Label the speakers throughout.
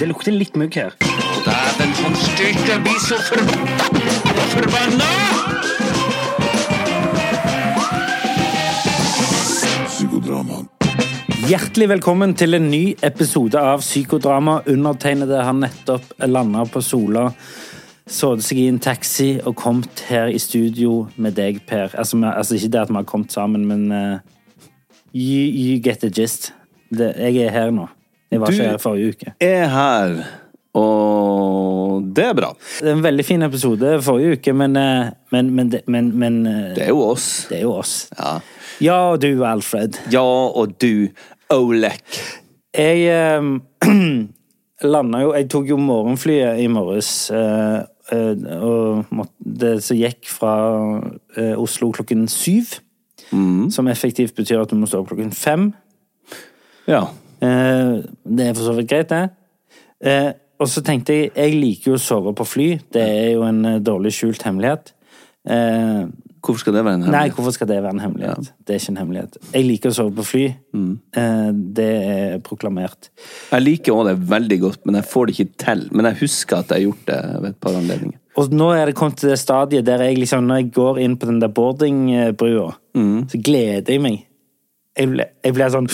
Speaker 1: Det lukter litt mugg her.
Speaker 2: Dæven, han styrte blir så forbanna! Forbanna!
Speaker 3: Psykodrama.
Speaker 1: Hjertelig velkommen til en ny episode av Psykodrama. Undertegnede har nettopp landa på Sola, sådd seg i en taxi og kommet her i studio med deg, Per. Altså, vi, altså ikke det at vi har kommet sammen, men eh, you, you get the gist. Det, jeg er her nå. Jeg var
Speaker 3: Du-
Speaker 1: ikke her forrige uke.
Speaker 3: Er her, og det er bra.
Speaker 1: Det er en veldig fin episode forrige uke, men, eh, men, men, det- men, men eh,
Speaker 3: Det er jo oss.
Speaker 1: det er jo oss.
Speaker 3: Ja,
Speaker 1: Ja, og du, Alfred.
Speaker 3: ja og du, Olek.
Speaker 1: Jeg eh, landa jo Jeg tok jo morgenflyet i morges. eh, eh, og måtte, det som gikk fra eh, Oslo klokken syv, som effektivt betyr at du må stå opp klokken fem.
Speaker 3: Ja.
Speaker 1: Eh, det er for så vidt greit, det. Eh, og så tenkte jeg Jeg liker jo å sove på fly. Det er jo en eh, dårlig skjult hemmelighet. Eh,
Speaker 3: Hvorfor skal det være en
Speaker 1: Nei,
Speaker 3: hemmelighet?
Speaker 1: hvorfor skal det være en hemmelighet? Det er ikke en hemmelighet. Jeg liker å sove på fly. Eh, det er proklamert.
Speaker 3: Jeg liker også det veldig godt, men jeg får det ikke til. Men jeg husker at jeg har gjort det ved et par anledninger.
Speaker 1: Og nå er det kommet til det stadiet der jeg liksom, når jeg går inn på den der boardingbrua, så gleder jeg meg. Jeg ble- jeg blir sånn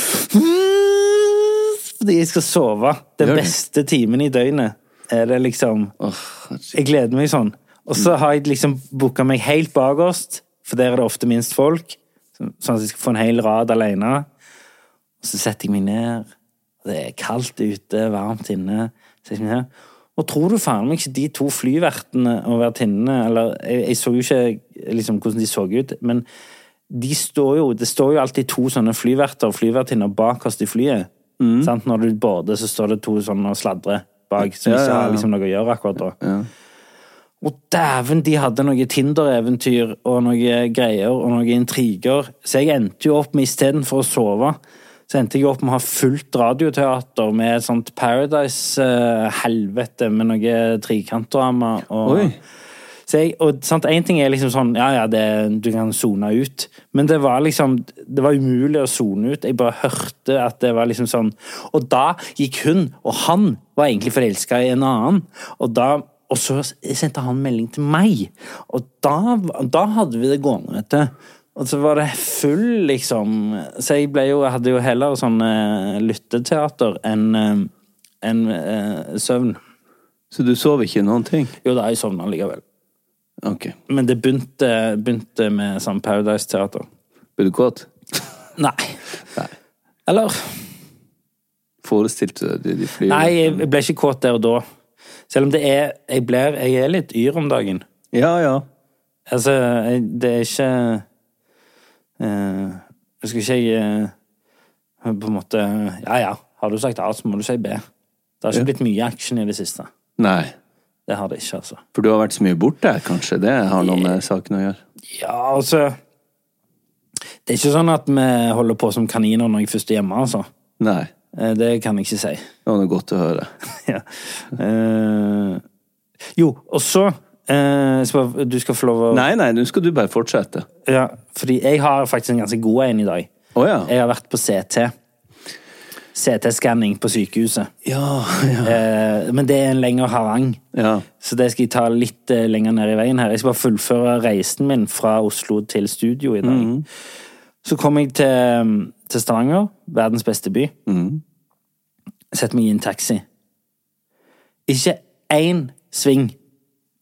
Speaker 1: Fordi jeg skal sove. Den
Speaker 3: Gjør det.
Speaker 1: beste timen i døgnet er det liksom
Speaker 3: Åh, herregud.
Speaker 1: Jeg gleder meg sånn. Og
Speaker 3: Mm.
Speaker 1: så har jeg liksom booka meg helt bakerst, for der er det ofte minst folk. så- Sånn at jeg skal få en hel rad alene. Og så setter jeg meg ned. og Det er kaldt ute, varmt inne. Så setter jeg meg ned. Og tror du faen meg ikke de to flyvertene og vertinnene Eller jeg, jeg så jo ikke liksom, hvordan de så ut, men de står jo, det står jo alltid to sånne flyverter og flyvertinner bakerst i flyet.
Speaker 3: Mm.
Speaker 1: Sant? Når du border, så står det to sånne og sladrer bak, som
Speaker 3: Ja,
Speaker 1: ikke
Speaker 3: ja, ja.
Speaker 1: har liksom, noe å gjøre akkurat da. Og dæven, de hadde noe Tinder-eventyr og noe greier og noe intriger. Så jeg endte jo opp med, istedenfor å sove, så endte jeg opp med å ha fullt radioteater med et sånt Paradise-helvete med noe trikantdrama. Og,
Speaker 3: Oi.
Speaker 1: så jeg, og sant, en ting er liksom sånn, ja ja, det, du kan zone ut, men det var liksom, det var umulig å zone ut. Jeg bare hørte at det var liksom sånn, og da gikk hun, og han var egentlig forelska i en annen, og da, og så sendte han melding til meg, og da, da hadde vi det gående, vet du. Og så var det full, liksom, så jeg ble jo, jeg hadde jo heller sånn eh, lytteteater enn eh, enn, eh, søvn.
Speaker 3: Så du sov ikke noen ting?
Speaker 1: Jo da, jeg sovna likevel.
Speaker 3: Ok.
Speaker 1: Men det begynte, begynte med sånn Paradise Teater.
Speaker 3: Ble du kåt?
Speaker 1: Nei. Eller
Speaker 3: Forestilte du deg de flyene?
Speaker 1: Nei, jeg ble ikke kåt der og da. Selv om det er Jeg, blir, jeg er litt yr om dagen.
Speaker 3: Ja, ja.
Speaker 1: Altså, jeg, det er ikke eh, Jeg skal ikke jeg eh, på en måte Ja ja, har du sagt A, så må du si B. Det har ikke blitt mye action i det siste.
Speaker 3: Nei.
Speaker 1: Det har det ikke, altså.
Speaker 3: For du har vært så mye borte, kanskje? Det har noe med saken å gjøre.
Speaker 1: Ja, altså Det er ikke sånn at vi holder på som kaniner når jeg først er hjemme, altså.
Speaker 3: Nei.
Speaker 1: Eh, Det kan jeg ikke si.
Speaker 3: Det var noe godt å høre.
Speaker 1: ja. Eh, jo, og så eh, så bare- Du skal få lov å
Speaker 3: Nei, nei, nå skal du bare fortsette.
Speaker 1: ja, Fordi jeg har faktisk en ganske god en i dag.
Speaker 3: Å ja.
Speaker 1: Jeg har vært på CT. CT-skanning på sykehuset.
Speaker 3: Ja, ja.
Speaker 1: Eh, men det er en lengre harang.
Speaker 3: Ja.
Speaker 1: Så det skal jeg ta litt eh, lenger ned i veien her. Jeg skal bare fullføre reisen min fra Oslo til studio i dag. Så kom jeg til, mm, til Stavanger, verdens beste by. Sett meg i en taxi. Ikke én sving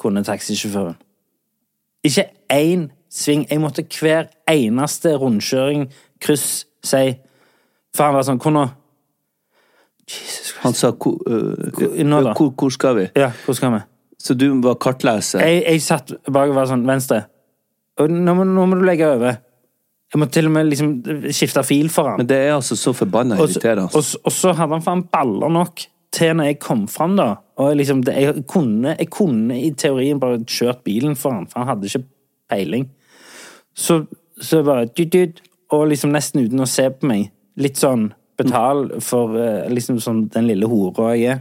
Speaker 1: kunne taxisjåføren. Ikke én sving. Jeg måtte hver eneste rundkjøring, kryss, si For han var sånn Hvor nå? Jesus Christ.
Speaker 3: Han sa hvor, øh,
Speaker 1: nå da?
Speaker 3: hvor, hvor skal vi?
Speaker 1: Ja, hvor skal vi?
Speaker 3: Så du var kartleser?
Speaker 1: Jeg, jeg satt bak og var sånn Venstre. Og nå, må, nå må du legge over. Jeg måtte til og med liksom skifte fil for han.
Speaker 3: Men det er altså så forbanna
Speaker 1: Og så-
Speaker 3: irriterende. altså.
Speaker 1: Og, så- og så hadde han faen baller nok til når jeg kom fram, da. Og jeg liksom, det, jeg, kunne, jeg kunne i teorien bare kjørt bilen for han, for han hadde ikke peiling. Så, så jeg bare dut, dut, Og liksom nesten uten å se på meg. Litt sånn betal for eh, liksom sånn den lille hora jeg er.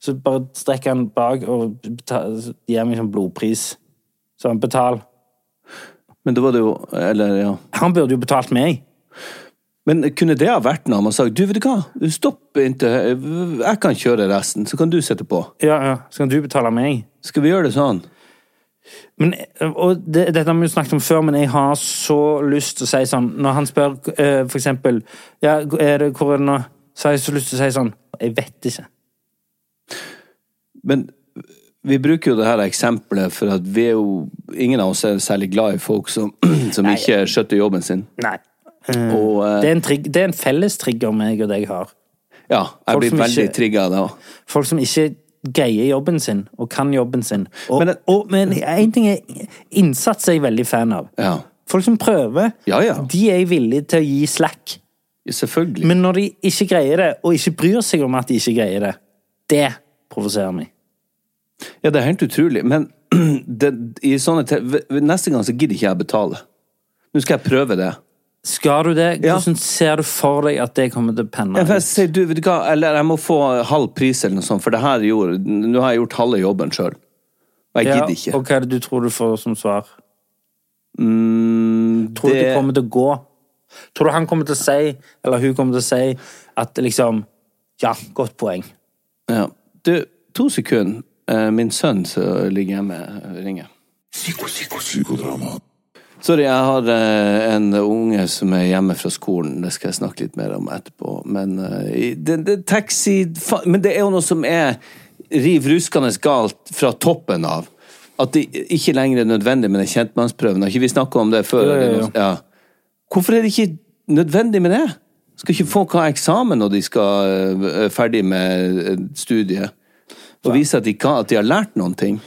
Speaker 1: Så bare strekker han bak og betal, gir meg sånn blodpris. Så han betal.
Speaker 3: Men da var det jo Eller, ja.
Speaker 1: Han burde jo betalt meg.
Speaker 3: Men kunne det ha vært noe man sa du vet du hva, stopp inntil Jeg kan kjøre resten, så kan du sitte på.
Speaker 1: Ja, ja. Så kan du betale meg.
Speaker 3: Skal vi gjøre det sånn?
Speaker 1: Men, og det, dette har vi jo snakket om før, men jeg har så lyst til å si sånn Når han spør eh, for eksempel ja, er det, 'Hvor er det nå?' så har jeg så lyst til å si sånn 'Jeg vet ikke'.
Speaker 3: Men vi bruker jo det her eksempelet for at vi er jo Ingen av oss er særlig glad i folk som, som ikke skjøtter jobben sin.
Speaker 1: Nei.
Speaker 3: Og
Speaker 1: Mm.
Speaker 3: eh,
Speaker 1: Det er en, trigg, det er en felles trigger meg og deg har.
Speaker 3: ja, jeg
Speaker 1: folk
Speaker 3: blir
Speaker 1: som
Speaker 3: veldig
Speaker 1: ikke-
Speaker 3: trigga da.
Speaker 1: Folk som ikke greier jobben sin, og kan jobben sin. Og,
Speaker 3: Men-
Speaker 1: og, men en ting er Innsats er jeg veldig fan av.
Speaker 3: Ja.
Speaker 1: Folk som prøver,
Speaker 3: Ja, ja.
Speaker 1: de er jeg villig til å gi slack.
Speaker 3: Selvfølgelig.
Speaker 1: Men når de ikke greier det, og ikke bryr seg om at de ikke greier det, det provoserer meg.
Speaker 3: Ja, det er helt utrolig. Men det, i sånne te v- v- neste gang så gidder ikke jeg betale. Nå skal jeg prøve det.
Speaker 1: Skal du det?
Speaker 3: Ja.
Speaker 1: Hvordan ser du for deg at det kommer til å penne?
Speaker 3: Jeg,
Speaker 1: ut?
Speaker 3: får si, du, vet du hva, eller jeg må få halv pris eller noe sånt, for det her gjorde Nå har jeg gjort halve jobben sjøl. Og jeg
Speaker 1: Ja,
Speaker 3: gidder ikke.
Speaker 1: Og hva er det du tror du får som svar? Tror du
Speaker 3: det-
Speaker 1: du kommer til å gå? Tror du han kommer til å si, eller hun kommer til å si, at liksom Ja, godt poeng.
Speaker 3: Ja. Du, to sekunder. Eh, Min sønn som ligger hjemme, eh, ringer. Sorry, jeg har eh, en unge som er hjemme fra skolen. Det skal jeg snakke litt mer om etterpå. Men eh, i- det, det, taxi fa, Men det er jo noe som er riv ruskende galt fra toppen av. At det ikke lenger er nødvendig med den kjentmannsprøven. Har ikke vi snakka om det før?
Speaker 1: Jo, jo,
Speaker 3: eller noe- Ja. Hvorfor er det ikke nødvendig med det? Skal ikke folk ha eksamen når de skal eh, er ferdig med eh, studiet? Og vise at de, kan, at de har lært noen ting?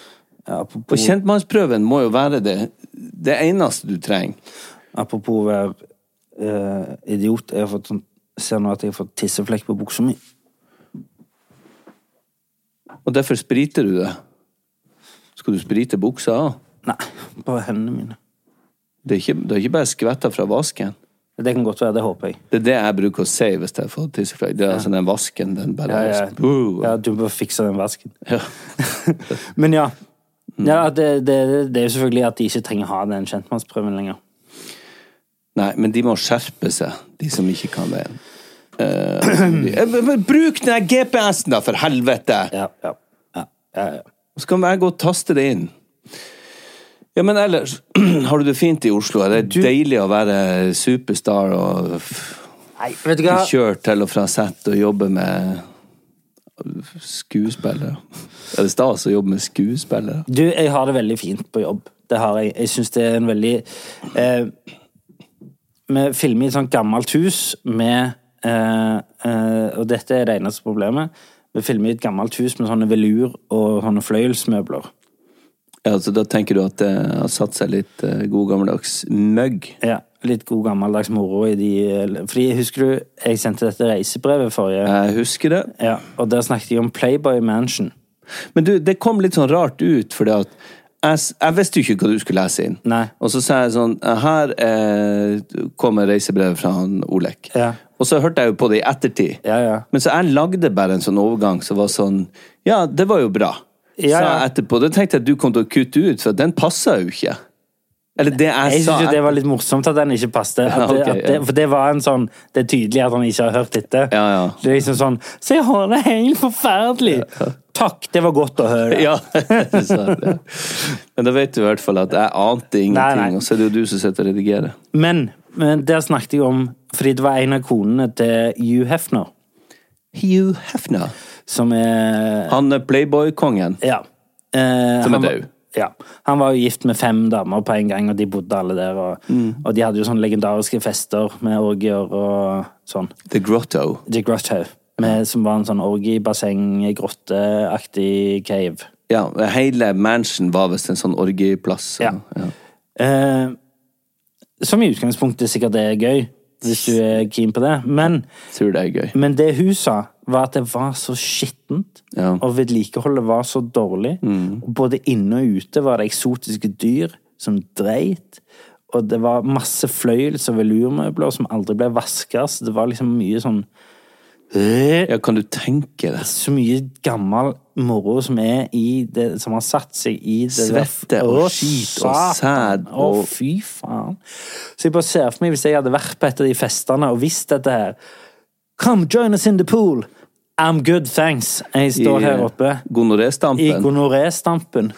Speaker 1: Ja, apropos,
Speaker 3: Og kjentmannsprøven må jo være det, det eneste du trenger.
Speaker 1: apropos å være eh, idiot. Jeg har fått sånn Ser nå at jeg har fått tisseflekk på buksa mi.
Speaker 3: Og derfor spriter du det. Skal du sprite buksa av?
Speaker 1: Nei, bare hendene mine.
Speaker 3: Det er ikke, det er ikke bare skvetter fra vasken.
Speaker 1: Det kan godt være. Det håper jeg.
Speaker 3: Det er det jeg bruker å si hvis jeg får tisseflekk. Det er altså den vasken, den bare
Speaker 1: Ja, ja.
Speaker 3: Boo.
Speaker 1: ja du må fikse den vasken.
Speaker 3: Ja.
Speaker 1: Men ja. ja det, det, det er jo selvfølgelig at de ikke trenger ha den kjentmannsprøven lenger.
Speaker 3: Nei, men de må skjerpe seg, de som ikke kan veien. Eh, eh, men- men bruk den her GPS-en, da, for helvete!
Speaker 1: Ja, ja, ja, ja, ja.
Speaker 3: Så kan jeg gå og taste det inn. Ja, men ellers, har du det fint i Oslo? Er det deilig å være superstar og f-
Speaker 1: Nei, vet du hva?
Speaker 3: kjører til og fra sett og jobber med skuespillere. Er det stas å jobbe med skuespillere?
Speaker 1: Du, jeg har det veldig fint på jobb. Det har jeg. Jeg syns det er en veldig eh, Vi filmer i et sånt gammelt hus med eh, eh, Og dette er det eneste problemet. Vi filmer i et gammelt hus med sånne velur og sånne fløyelsmøbler.
Speaker 3: Ja, så da tenker du at det har satt seg litt eh, god gammeldags møgg?
Speaker 1: Ja, Litt god gammeldags moro i de Fordi, husker du, jeg sendte dette reisebrevet forrige
Speaker 3: Jeg husker det.
Speaker 1: Ja, og der snakket jeg om Playboy Mansion.
Speaker 3: Men du, det kom litt sånn rart ut, fordi at jeg, s- jeg visste jo ikke hva du skulle lese inn.
Speaker 1: Nei.
Speaker 3: Og så sa jeg sånn Her eh, kommer reisebrevet fra han Olek.
Speaker 1: Ja.
Speaker 3: Og så hørte jeg jo på det i ettertid.
Speaker 1: Ja, ja.
Speaker 3: Men så jeg lagde bare en sånn overgang som var sånn Ja, det var jo bra.
Speaker 1: Ja,
Speaker 3: Sa
Speaker 1: ja.
Speaker 3: jeg etterpå. Da tenkte jeg at du kom til å kutte ut, for den passa jo ikke. Eller det jeg,
Speaker 1: Jeg
Speaker 3: sa.
Speaker 1: synes jo det var litt morsomt at den ikke passet. At det,
Speaker 3: Ja, ok,
Speaker 1: at det,
Speaker 3: ja.
Speaker 1: for det var en sånn Det er tydelig at han ikke har hørt dette.
Speaker 3: Ja, ja.
Speaker 1: Det er liksom sånn Se, jeg har det helt forferdelig! Takk, det var godt å høre.
Speaker 3: Ja, så, ja. Men da vet du i hvert fall at jeg ante ingenting,
Speaker 1: Nei, nei.
Speaker 3: og så er det jo du som sitter og redigerer.
Speaker 1: Men, men der snakket jeg om Fordi det var en av konene til Hugh Hefner,
Speaker 3: Hugh Hefner.
Speaker 1: som er
Speaker 3: Han er playboy-kongen.
Speaker 1: Ja. eh, han
Speaker 3: Som er
Speaker 1: var-
Speaker 3: død.
Speaker 1: Ja. Han var jo gift med fem damer på en gang, og de bodde alle der. Og,
Speaker 3: Mm.
Speaker 1: og de hadde jo sånne legendariske fester med orgier og sånn.
Speaker 3: The Grotto.
Speaker 1: The Grotto, med, som var en sånn orgie-basseng-grotteaktig cave.
Speaker 3: Ja, hele mansion var visst en sånn orgieplass.
Speaker 1: Ja. Eh, som i utgangspunktet sikkert er gøy, hvis du er keen på det. Men,
Speaker 3: Tror det er gøy.
Speaker 1: men det hun sa, var at det var så skittent,
Speaker 3: Ja.
Speaker 1: og vedlikeholdet var så dårlig. Og både inne og ute var det eksotiske dyr som dreit. Og det var masse fløyels og velurmøbler som aldri ble vaska, så det var liksom mye sånn øh,
Speaker 3: Ja, kan du tenke deg?
Speaker 1: så mye gammel moro som er i det som har satt seg i det der-
Speaker 3: Svette og
Speaker 1: Å,
Speaker 3: skit og
Speaker 1: satan.
Speaker 3: sæd
Speaker 1: Å,
Speaker 3: og-
Speaker 1: fy faen. Så jeg bare ser for meg, hvis jeg hadde vært på et av de festene og visst dette her Come join us in the pool! I'm good, thanks. Jeg står
Speaker 3: I, eh,
Speaker 1: her oppe i
Speaker 3: Gonoré-stampen.
Speaker 1: gonoré-stampen.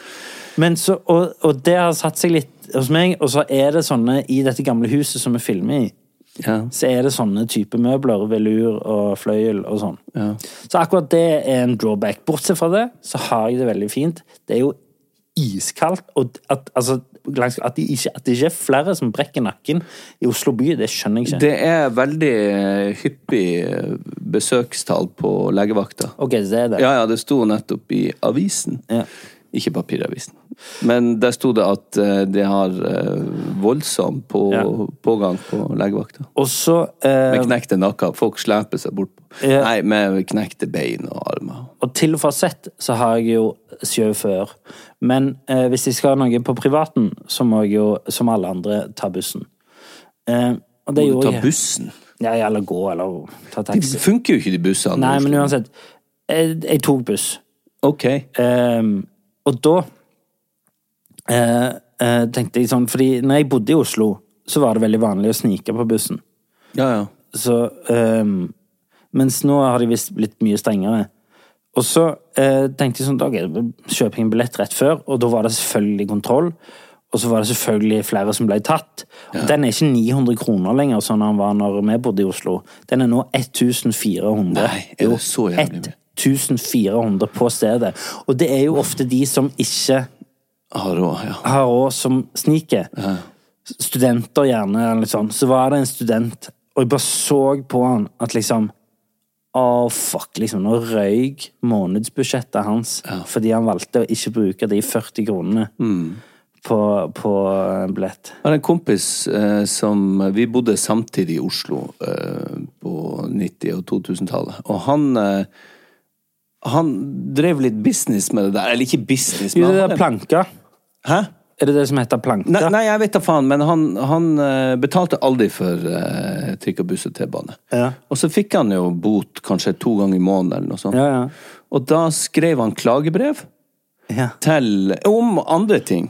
Speaker 1: Men så, og, og det har satt seg litt hos meg, og så er det sånne i dette gamle huset som vi filmer i
Speaker 3: Ja.
Speaker 1: så er det sånne type møbler, velur og fløyel og sånn. Så akkurat det er en drawback. Bortsett fra det, så har jeg det veldig fint. Det er jo iskaldt, og at, altså, langs, at, det ikke, at det ikke er flere som brekker nakken i Oslo by, det skjønner jeg ikke.
Speaker 3: Det er veldig eh, hyppig eh, besøkstall på legevakta.
Speaker 1: Ok, det er det.
Speaker 3: Ja, ja, det sto nettopp i avisen.
Speaker 1: Ja.
Speaker 3: Ikke papiravisen. Men der sto det at eh, det har eh, voldsom på,
Speaker 1: Ja.
Speaker 3: pågang på legevakta.
Speaker 1: Og så eh,
Speaker 3: Med knekte nakker. Folk sleper seg bort.
Speaker 1: Ja.
Speaker 3: Nei, med knekte bein og armer.
Speaker 1: Og til og fra sett så har jeg jo sjåfør. Men eh, hvis jeg skal ha noe på privaten, så må jeg jo, som alle andre, ta bussen. Eh, og det
Speaker 3: Må du
Speaker 1: gjorde
Speaker 3: ta
Speaker 1: jeg.
Speaker 3: bussen?
Speaker 1: Ja, eller gå, eller ta taxi.
Speaker 3: Det funker jo ikke, de bussene.
Speaker 1: Nei,
Speaker 3: i Oslo.
Speaker 1: men uansett. Jeg, jeg tok buss.
Speaker 3: Ok.
Speaker 1: Ehm, og da eh, eh, tenkte jeg sånn Fordi når jeg bodde i Oslo, så var det veldig vanlig å snike på bussen.
Speaker 3: Ja, ja.
Speaker 1: Så ehm, Mens nå har de visst blitt mye strengere. Og så eh, tenkte jeg sånn Ok, kjøper jeg en billett rett før, og da var det selvfølgelig kontroll. Og så var det selvfølgelig flere som ble tatt. Og Den er ikke 900 kroner lenger, sånn den var når vi bodde i Oslo. Den er nå 1400.
Speaker 3: Nei, er det
Speaker 1: Jo,
Speaker 3: så jævlig mye?
Speaker 1: 1400 på stedet. Og det er jo ofte de som ikke
Speaker 3: Har råd, Ah, ja.
Speaker 1: har råd som sniker. Studenter gjerne, eller litt sånn. Så var det en student, og jeg bare så på han at liksom Å, fuck, liksom. Nå røyk månedsbudsjettet hans fordi han valgte å ikke bruke de 40 kronene på, på en billett.
Speaker 3: Jeg har en kompis eh, som Vi bodde samtidig i Oslo eh, på 90- og 2000-tallet. Og han eh, Han drev litt business med det der. Eller ikke business,
Speaker 1: Jo, det
Speaker 3: men han
Speaker 1: der
Speaker 3: hadde-
Speaker 1: planka.
Speaker 3: Hæ?
Speaker 1: Er det det som heter planka?
Speaker 3: Nei, nei, jeg vet da faen, men han, han eh, betalte aldri for eh, trikk og buss og T-bane.
Speaker 1: Ja.
Speaker 3: Og så fikk han jo bot kanskje to ganger i måneden eller noe sånt.
Speaker 1: Ja, ja.
Speaker 3: Og da skrev han klagebrev.
Speaker 1: Ja.
Speaker 3: til Om andre ting.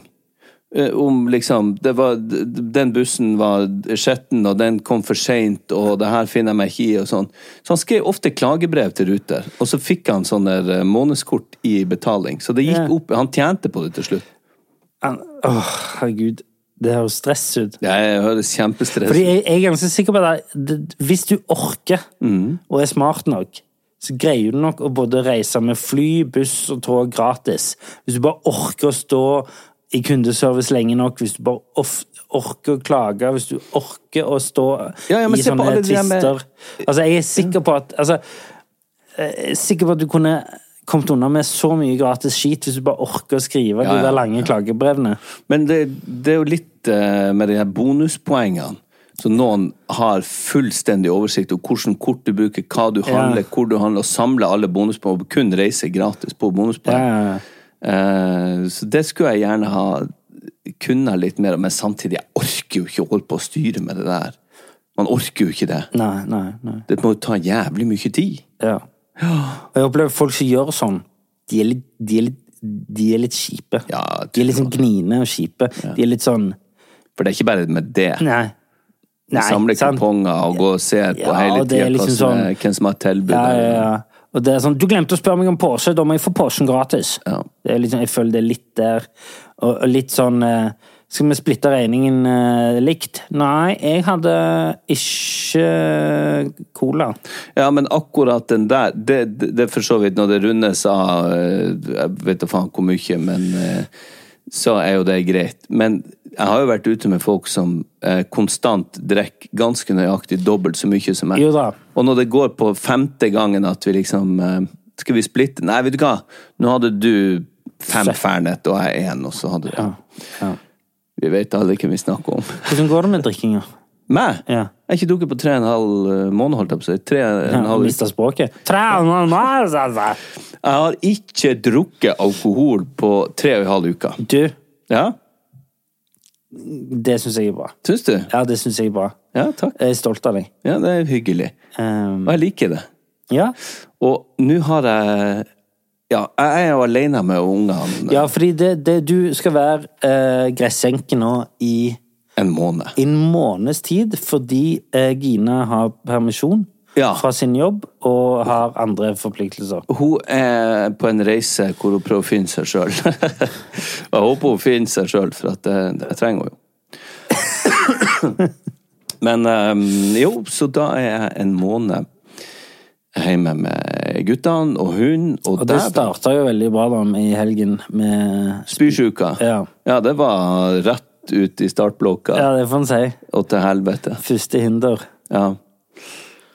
Speaker 3: Eh, Om liksom det var, d- d- Den bussen var skjetten, og den kom for seint, og det her finner jeg meg ikke i, og sånn. Så han skrev ofte klagebrev til Ruter, og så fikk han sånne eh, månedskort i betaling. Så det gikk
Speaker 1: Ja.
Speaker 3: opp. Han tjente på det til slutt.
Speaker 1: Han- Åh, herregud. Det høres stress ut.
Speaker 3: Det høres kjempestress
Speaker 1: Fordi
Speaker 3: ut.
Speaker 1: jeg, jeg er ganske sikker på at det- hvis du orker
Speaker 3: Mm.
Speaker 1: og er smart nok, så greier du nok å både reise med fly, buss og tog gratis. Hvis du bare orker å stå i kundeservice lenge nok, hvis du bare of- orker å klage, hvis du orker å stå
Speaker 3: Ja, ja, men
Speaker 1: i
Speaker 3: se på
Speaker 1: sånne
Speaker 3: alle de der med-
Speaker 1: tvister Altså, jeg er sikker på at altså, jeg er sikker på at du kunne kommet unna med så mye gratis skit hvis du bare orker å skrive
Speaker 3: Ja,
Speaker 1: de
Speaker 3: ja,
Speaker 1: der lange klagebrevene.
Speaker 3: Men det, det er jo litt eh, med de her bonuspoengene. Så noen har fullstendig oversikt over hvilket kort du bruker, hva du handler, hvor du handler, og samler alle bonuspoeng og kun reiser gratis på bonuspoeng.
Speaker 1: Ja, ja, ja.
Speaker 3: Eh, så det skulle jeg gjerne ha kunnet litt mer, men samtidig, jeg orker jo ikke å holde på å styre med det der. Man orker jo ikke det.
Speaker 1: Nei, nei, nei.
Speaker 3: Det må jo ta jævlig mye tid.
Speaker 1: Ja. Og jeg opplever folk som gjør sånn, de er litt, de er litt, de er litt kjipe.
Speaker 3: Ja, jeg
Speaker 1: de er
Speaker 3: tror
Speaker 1: litt sånn gnine og kjipe. De er litt sånn
Speaker 3: For det er ikke bare med det.
Speaker 1: Nei.
Speaker 3: Du samler
Speaker 1: sant?
Speaker 3: kuponger og går og ser på
Speaker 1: Ja, og
Speaker 3: hele
Speaker 1: det
Speaker 3: tida
Speaker 1: er liksom sånn-
Speaker 3: hvem som har tilbud.
Speaker 1: Ja, ja, ja. Og det er sånn, du glemte å spørre meg om Porsche, da må jeg få Porschen gratis. Det er liksom, jeg føler det er litt der. Og, og litt sånn eh, Skal vi splitte regningen eh, likt? Nei, jeg hadde ikke cola.
Speaker 3: Ja, men akkurat den der, det, det, det er for så vidt når det rundes av eh, Jeg vet da faen hvor mye, men eh, så er jo det greit. Men jeg har jo vært ute med folk som eh, konstant drikker ganske nøyaktig dobbelt så mye som meg.
Speaker 1: Jo da.
Speaker 3: Og når det går på femte gangen at vi liksom eh, Skal vi splitte? Nei, vet du hva, nå hadde du fem Fernet og jeg én, og så hadde du Vi vet alle hvem vi snakker om.
Speaker 1: Hvordan går det med drikkinga?
Speaker 3: Meg?
Speaker 1: Ja.
Speaker 3: Jeg har ikke drukket på tre og en halv eh, måned, holdt jeg på å si. Tre og en halv
Speaker 1: Mista språket? Traumer, altså.
Speaker 3: Jeg har ikke drukket alkohol på tre og en halv uke.
Speaker 1: Du,
Speaker 3: Ja,
Speaker 1: det syns jeg er bra.
Speaker 3: syns du?
Speaker 1: Ja, det syns jeg er bra.
Speaker 3: Ja, takk.
Speaker 1: Jeg er stolt av deg.
Speaker 3: Ja, det er hyggelig.
Speaker 1: Ehm,
Speaker 3: Og jeg liker det.
Speaker 1: ja.
Speaker 3: Og nå har jeg Ja, jeg er jo alene med ungene
Speaker 1: ja, fordi det, det du skal være uh, gressenke nå i
Speaker 3: en måned.
Speaker 1: en måneds tid, fordi eh, Gina har permisjon
Speaker 3: Ja.
Speaker 1: fra sin jobb og har andre forpliktelser.
Speaker 3: Hun er på en reise hvor hun prøver å finne seg sjøl. jeg håper hun finner seg sjøl, for at jeg, jeg trenger henne jo. Men ehm, jo, så da er jeg en måned hjemme med guttene og hunden, og,
Speaker 1: Og det
Speaker 3: der
Speaker 1: starta jo veldig bra da i helgen med
Speaker 3: Spysjuka.
Speaker 1: Ja.
Speaker 3: det var rett ut i startblokka
Speaker 1: Ja, det får en si.
Speaker 3: og til helvete.
Speaker 1: Første hinder.
Speaker 3: Ja.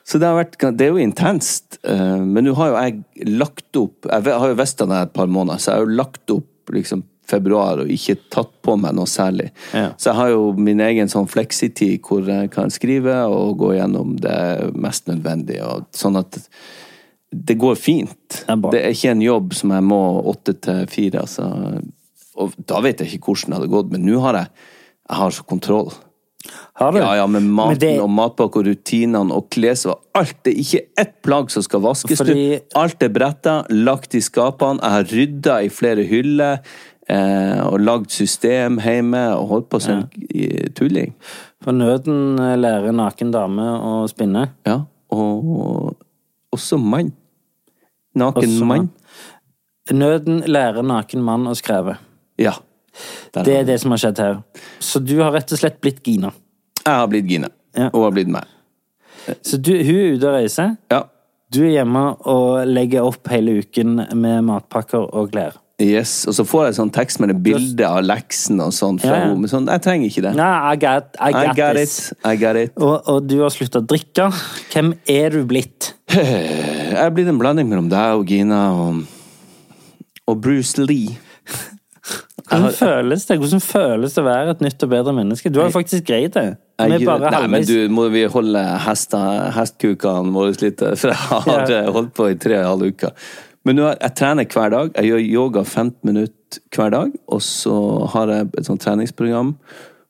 Speaker 3: Så det har vært Det er jo intenst, eh, men nå har jo jeg lagt opp Jeg ve- har jo visst det et par måneder, så jeg har jo lagt opp liksom februar og ikke tatt på meg noe særlig.
Speaker 1: Ja.
Speaker 3: Så jeg har jo min egen sånn fleksitid hvor jeg kan skrive og gå gjennom det mest nødvendige, og sånn at det går fint.
Speaker 1: er bra.
Speaker 3: Det er ikke en jobb som jeg må åtte til fire. Altså. Og da vet jeg ikke hvordan det hadde gått, men nå har jeg, jeg har så kontroll.
Speaker 1: Har du?
Speaker 3: Ja, ja, med maten
Speaker 1: Men det,
Speaker 3: og matpakke og rutinene og kles og alt. Det er ikke ett plagg som skal vaskes.
Speaker 1: Fordi-
Speaker 3: Du, alt er bretta, lagt i skapene. Jeg har rydda i flere hyller. Eh, og lagd system hjemme og holdt på som en i- tulling.
Speaker 1: For nøden eh, lærer naken dame å spinne.
Speaker 3: Ja. Og også mann. Naken
Speaker 1: Også
Speaker 3: mann.
Speaker 1: mann. Nøden lærer naken mann å skreve.
Speaker 3: Ja. Der
Speaker 1: Det
Speaker 3: har
Speaker 1: er det som har skjedd her. Så du har rett og slett blitt Gina.
Speaker 3: Jeg har blitt Gine.
Speaker 1: Ja.
Speaker 3: Og har blitt meg.
Speaker 1: Så du, hun er ute og reiser.
Speaker 3: Ja.
Speaker 1: Du er hjemme og legger opp hele uken med matpakker og klær.
Speaker 3: Yes. Og så får jeg sånn tekst med det bildet av leksen og sånn. Fra
Speaker 1: Ja, ja.
Speaker 3: henne, Men sånn, jeg trenger ikke det.
Speaker 1: Nei, I got, I got,
Speaker 3: I got
Speaker 1: this.
Speaker 3: it. I got it.
Speaker 1: Og, og du har slutta å drikke. Hvem er du blitt?
Speaker 3: Eh, Jeg er blitt en blanding mellom deg og Gina og, og Bruce Lee.
Speaker 1: Hvordan føles det Hvordan føles det å være et nytt og bedre menneske? Du har jo faktisk greid det. Vi
Speaker 3: Jeg
Speaker 1: er
Speaker 3: gjør-
Speaker 1: bare
Speaker 3: Nei, men
Speaker 1: halvveis.
Speaker 3: du, må vi holde hesta, hestkukene våre litt? eh, For jeg har
Speaker 1: Ja.
Speaker 3: holdt på i tre og en halv uke. Men nå, jeg trener hver dag. Jeg gjør yoga 15 minutter hver dag. Og så har jeg et sånt treningsprogram.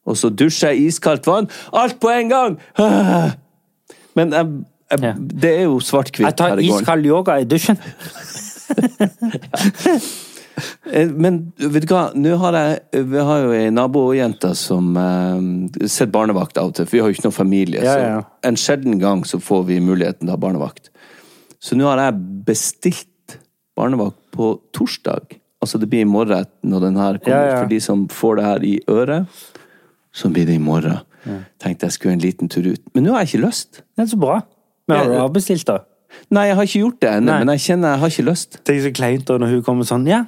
Speaker 3: Og så dusjer jeg i iskaldt vann. Alt på en gang! Ah! Men jeg, jeg,
Speaker 1: Ja.
Speaker 3: det er jo
Speaker 1: Jeg
Speaker 3: svart-hvitt
Speaker 1: tar
Speaker 3: her i gården.
Speaker 1: iskald yoga i dusjen.
Speaker 3: Eh, Men vet du hva, nå har jeg eh, Vi har jo ei nabojente som eh, setter barnevakt av og til, for vi har jo ikke noen familie.
Speaker 1: Ja, ja.
Speaker 3: Så en sjelden gang så får vi muligheten til å ha barnevakt. Så nå har jeg bestilt barnevakt på torsdag. Altså det blir i morgen når den her kommer.
Speaker 1: Ja, ja.
Speaker 3: For de som får det her i øret, så blir det i morgen. Tenkte jeg skulle en liten tur ut. Men nå har jeg ikke lyst.
Speaker 1: Det er så bra. Men har du
Speaker 3: Ja.
Speaker 1: avbestilt, da?
Speaker 3: Nei, jeg har ikke gjort det ennå,
Speaker 1: Nei.
Speaker 3: men jeg kjenner jeg har ikke lyst.
Speaker 1: Det er så kleint da når hun kommer sånn. Ja,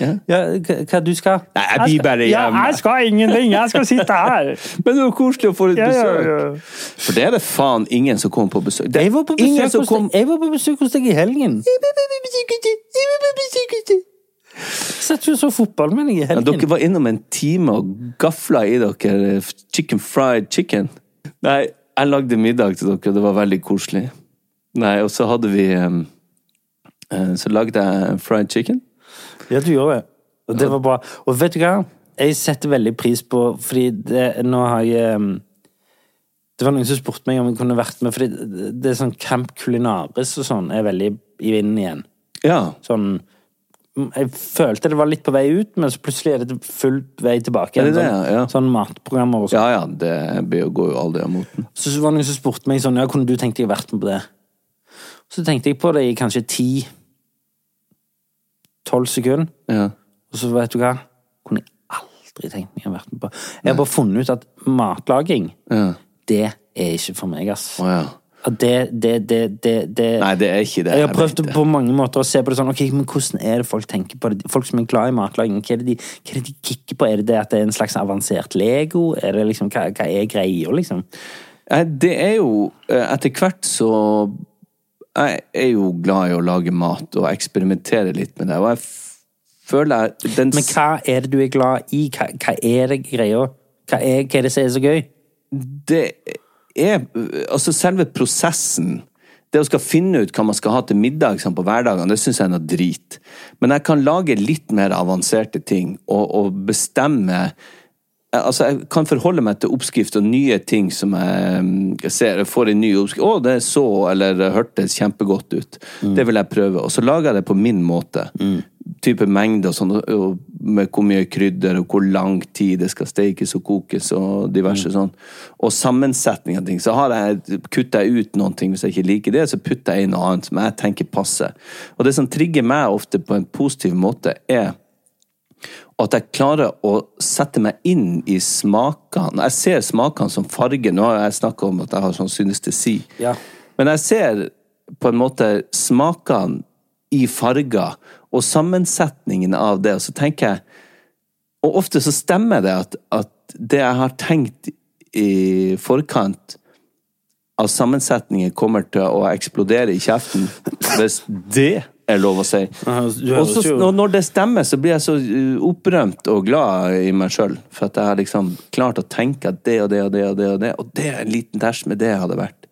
Speaker 3: Ja.
Speaker 1: ja hva hva du skal
Speaker 3: Nei, jeg blir bare um, hjemme.
Speaker 1: Ja, jeg skal ingenting. Jeg skal sitte her.
Speaker 3: Men det var koselig å få litt
Speaker 1: Ja, ja,
Speaker 3: besøk.
Speaker 1: ja.
Speaker 3: For det er det faen ingen som kommer på besøk. Det er
Speaker 1: Jeg var på besøk,
Speaker 3: ingen som
Speaker 1: hos, deg- jeg var på besøk hos deg i helgen. Satt jo og så fotball med deg i
Speaker 3: ja,
Speaker 1: helgen.
Speaker 3: Dere var innom en time og gafla i dere eh, chicken fried chicken. Nei, jeg lagde middag til dere, det var veldig koselig. Nei, og så hadde vi em, eh, Så lagde jeg fried chicken.
Speaker 1: Ja, du gjorde det. Og det var bra. Og vet du hva? Jeg setter veldig pris på Fordi det, nå har jeg um, Det var noen som spurte meg om jeg kunne vært med, fordi det, det er sånn Camp Culinaris og sånn er veldig i vinden igjen.
Speaker 3: Ja.
Speaker 1: Sånn mm, Jeg følte det var litt på vei ut, men så plutselig er det full vei tilbake.
Speaker 3: Er det
Speaker 1: igjen.
Speaker 3: det, ja?
Speaker 1: sånn, sånn matprogrammer og sånn.
Speaker 3: Ja ja, det blir jo- går jo aldri av moten.
Speaker 1: Så var det noen som spurte meg sånn, ja, kunne du tenkt deg å vært med på det? Så tenkte jeg på det i kanskje 10-12 sekunder,
Speaker 3: Ja.
Speaker 1: og så vet du hva? Kunne jeg aldri tenkt meg å ha vært med på. Jeg har bare funnet ut at matlaging, det er ikke for meg, ass.
Speaker 3: Å, ja.
Speaker 1: At Det, det, det, det, det
Speaker 3: Nei, det er ikke det.
Speaker 1: Jeg har
Speaker 3: Jeg
Speaker 1: prøvd
Speaker 3: vet det.
Speaker 1: på mange måter å se på det sånn, ok, men hvordan er det folk tenker på det? Folk som er glad i matlaging, hva er det de, hva er det de kikker på? Er det det at det er en slags avansert Lego? Er det liksom, hva, hva er greia, liksom?
Speaker 3: Nei, det er jo eh, Etter hvert så Jeg er jo glad i å lage mat og eksperimentere litt med det. Og jeg f- føler jeg den,
Speaker 1: Men hva er det du er glad i? Hva, hva er det greia? Hva er, hva er det som er så gøy?
Speaker 3: Det er Altså, selve prosessen det å skal finne ut hva man skal ha til middag sånn, på hverdagene, det syns jeg er noe drit. Men jeg kan lage litt mer avanserte ting og, og bestemme Jeg- Altså, jeg kan forholde meg til oppskrift og nye ting som jeg mm, jeg ser. Jeg får en ny oppskrift. 'Å, det så eller hørtes kjempegodt ut.' Det vil jeg prøve. Og så lager jeg det på min måte. Type mengde og sånn, og- og med hvor mye krydder og hvor lang tid det skal stekes og kokes og diverse sånn. Og sammensetning av ting. Så har jeg, kutter jeg ut noen ting hvis jeg ikke liker det, så putter jeg inn noe annet som jeg tenker passer. Og det som trigger meg ofte på en positiv måte, er og at jeg klarer å sette meg inn i smakene. Jeg ser smakene som farge. Nå har jeg snakka om at jeg har sånn synestesi.
Speaker 1: Ja.
Speaker 3: Men jeg ser på en måte smakene i farger, og sammensetningen av det. Og så tenker jeg Og ofte så stemmer det at, at det jeg har tenkt i forkant av sammensetningen kommer til å eksplodere i kjeften, hvis det er lov å si.
Speaker 1: du
Speaker 3: Og
Speaker 1: høres
Speaker 3: så
Speaker 1: jo-
Speaker 3: når- når det stemmer, så blir jeg så uh, opprømt og glad i meg sjøl. For at jeg har liksom klart å tenke at det og det og det og det og det, og det er en liten dash med det hadde vært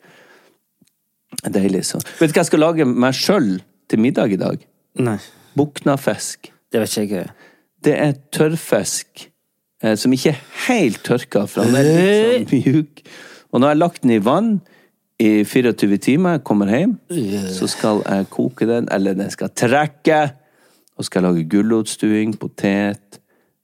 Speaker 3: deilig. Så. Vet du hva jeg skal lage meg sjøl til middag i dag?
Speaker 1: Nei,
Speaker 3: Buknafisk.
Speaker 1: det vet ikke jeg.
Speaker 3: Det er tørrfisk eh, som ikke er helt tørka fra. Den er litt sånn mjuk. Og når jeg har lagt den i vann i 24 timer, jeg kommer hjem, så skal jeg koke den, eller den skal trekke. Og skal lage gulrotstuing, potet,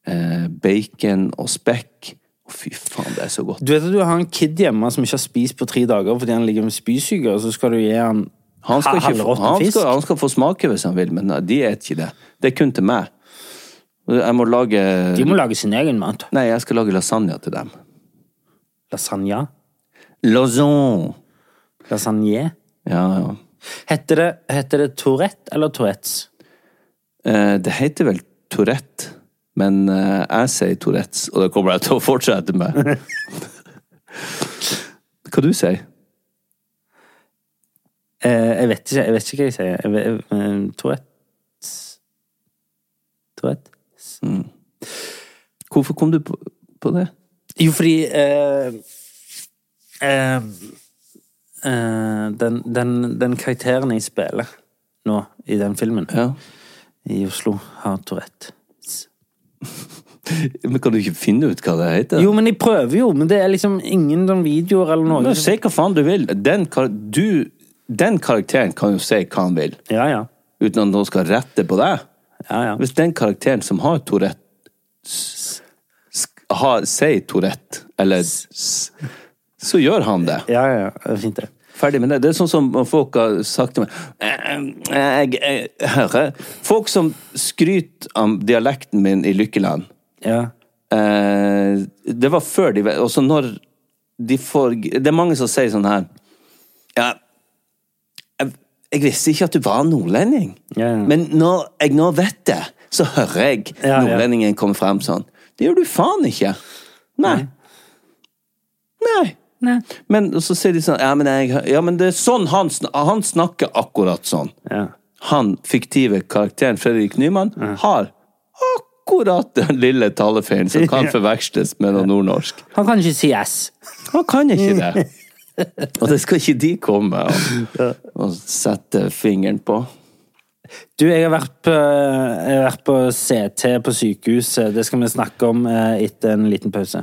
Speaker 3: eh, bacon og spekk. Å, fy faen, det er så godt.
Speaker 1: Du vet at du har en kid hjemme som ikke har spist på tre dager fordi han ligger med spysyke, og så skal du gi han,
Speaker 3: Han skal, ikke få,
Speaker 1: halvråtten
Speaker 3: han,
Speaker 1: fisk?
Speaker 3: skal, han skal få smake hvis han vil, men eh, de spiser ikke det. Det er kun til meg. Jeg må lage
Speaker 1: De må lage sin egen mat.
Speaker 3: Nei, jeg skal lage lasagne til dem.
Speaker 1: Lasagne?
Speaker 3: Lasagne!
Speaker 1: Lasagne?
Speaker 3: Ja, ja.
Speaker 1: Heter det, heter det Tourette eller Tourettes?
Speaker 3: Eh, Det heter vel Tourette, men eh, jeg sier Tourettes, og det kommer jeg til å fortsette med. Hva du sier
Speaker 1: Eh, jeg vet ikke, jeg vet ikke hva jeg sier. Jeg vet, eh, Tourettes Tourette?
Speaker 3: Hvorfor kom du på, på det?
Speaker 1: Jo, fordi eh, eh, eh, den, den, den karakteren jeg spiller nå i den filmen
Speaker 3: Ja.
Speaker 1: i Oslo, har Tourette.
Speaker 3: Men Kan du ikke finne ut hva det heter?
Speaker 1: Jo, men jeg prøver jo, men det er liksom ingen sånn videoer eller noe.
Speaker 3: Men Si hva faen du vil. Den, kar du, den karakteren kan jo si hva han vil,
Speaker 1: Ja, ja.
Speaker 3: uten at noen skal rette på deg.
Speaker 1: ja, ja.
Speaker 3: Hvis den karakteren som har Tourette, sk- har- sier Tourette, eller s- så gjør han det.
Speaker 1: Ja, ja, ja. Det er Fint, det.
Speaker 3: Ferdig med det. Det er sånn som folk har sagt til meg Eh, eh, jeg, jeg hører Folk som skryter av dialekten min i Lykkeland
Speaker 1: Ja.
Speaker 3: eh, Det var før de Og så når de får Det er mange som sier sånn her Ja, jeg, jeg visste ikke at du var nordlending,
Speaker 1: Ja, ja.
Speaker 3: men når jeg nå vet det, så hører jeg
Speaker 1: Ja, ja.
Speaker 3: nordlendingen komme frem sånn. Det gjør du faen ikke. Nei. Nei. Men og så sier de sånn Ja, men, jeg, ja, men det er sånn han, sn- han snakker akkurat sånn.
Speaker 1: Ja.
Speaker 3: Han fiktive karakteren Fredrik Nyman har akkurat den lille talefeilen som kan forveksles med noe nordnorsk.
Speaker 1: Han kan ikke si Mm. S.
Speaker 3: Han kan ikke det. Og det skal ikke de komme og, og sette fingeren på.
Speaker 1: Du, jeg har vært på, jeg har vært på CT på sykehuset. Det skal vi snakke om eh, etter en liten pause.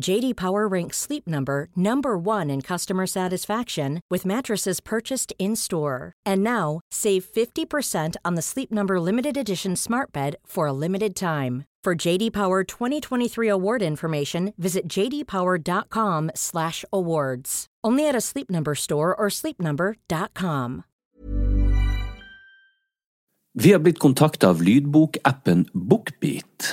Speaker 4: JD Power ranks Sleep Number number 1 in customer satisfaction with mattresses purchased in-store. And now, save 50% on the Sleep Number limited edition Smart Bed for a limited time. For JD Power 2023 award information, visit jdpower.com/awards. Only at a Sleep Number store or sleepnumber.com.
Speaker 3: Vi har blitt kontakta av lydbokappen Bookbeat.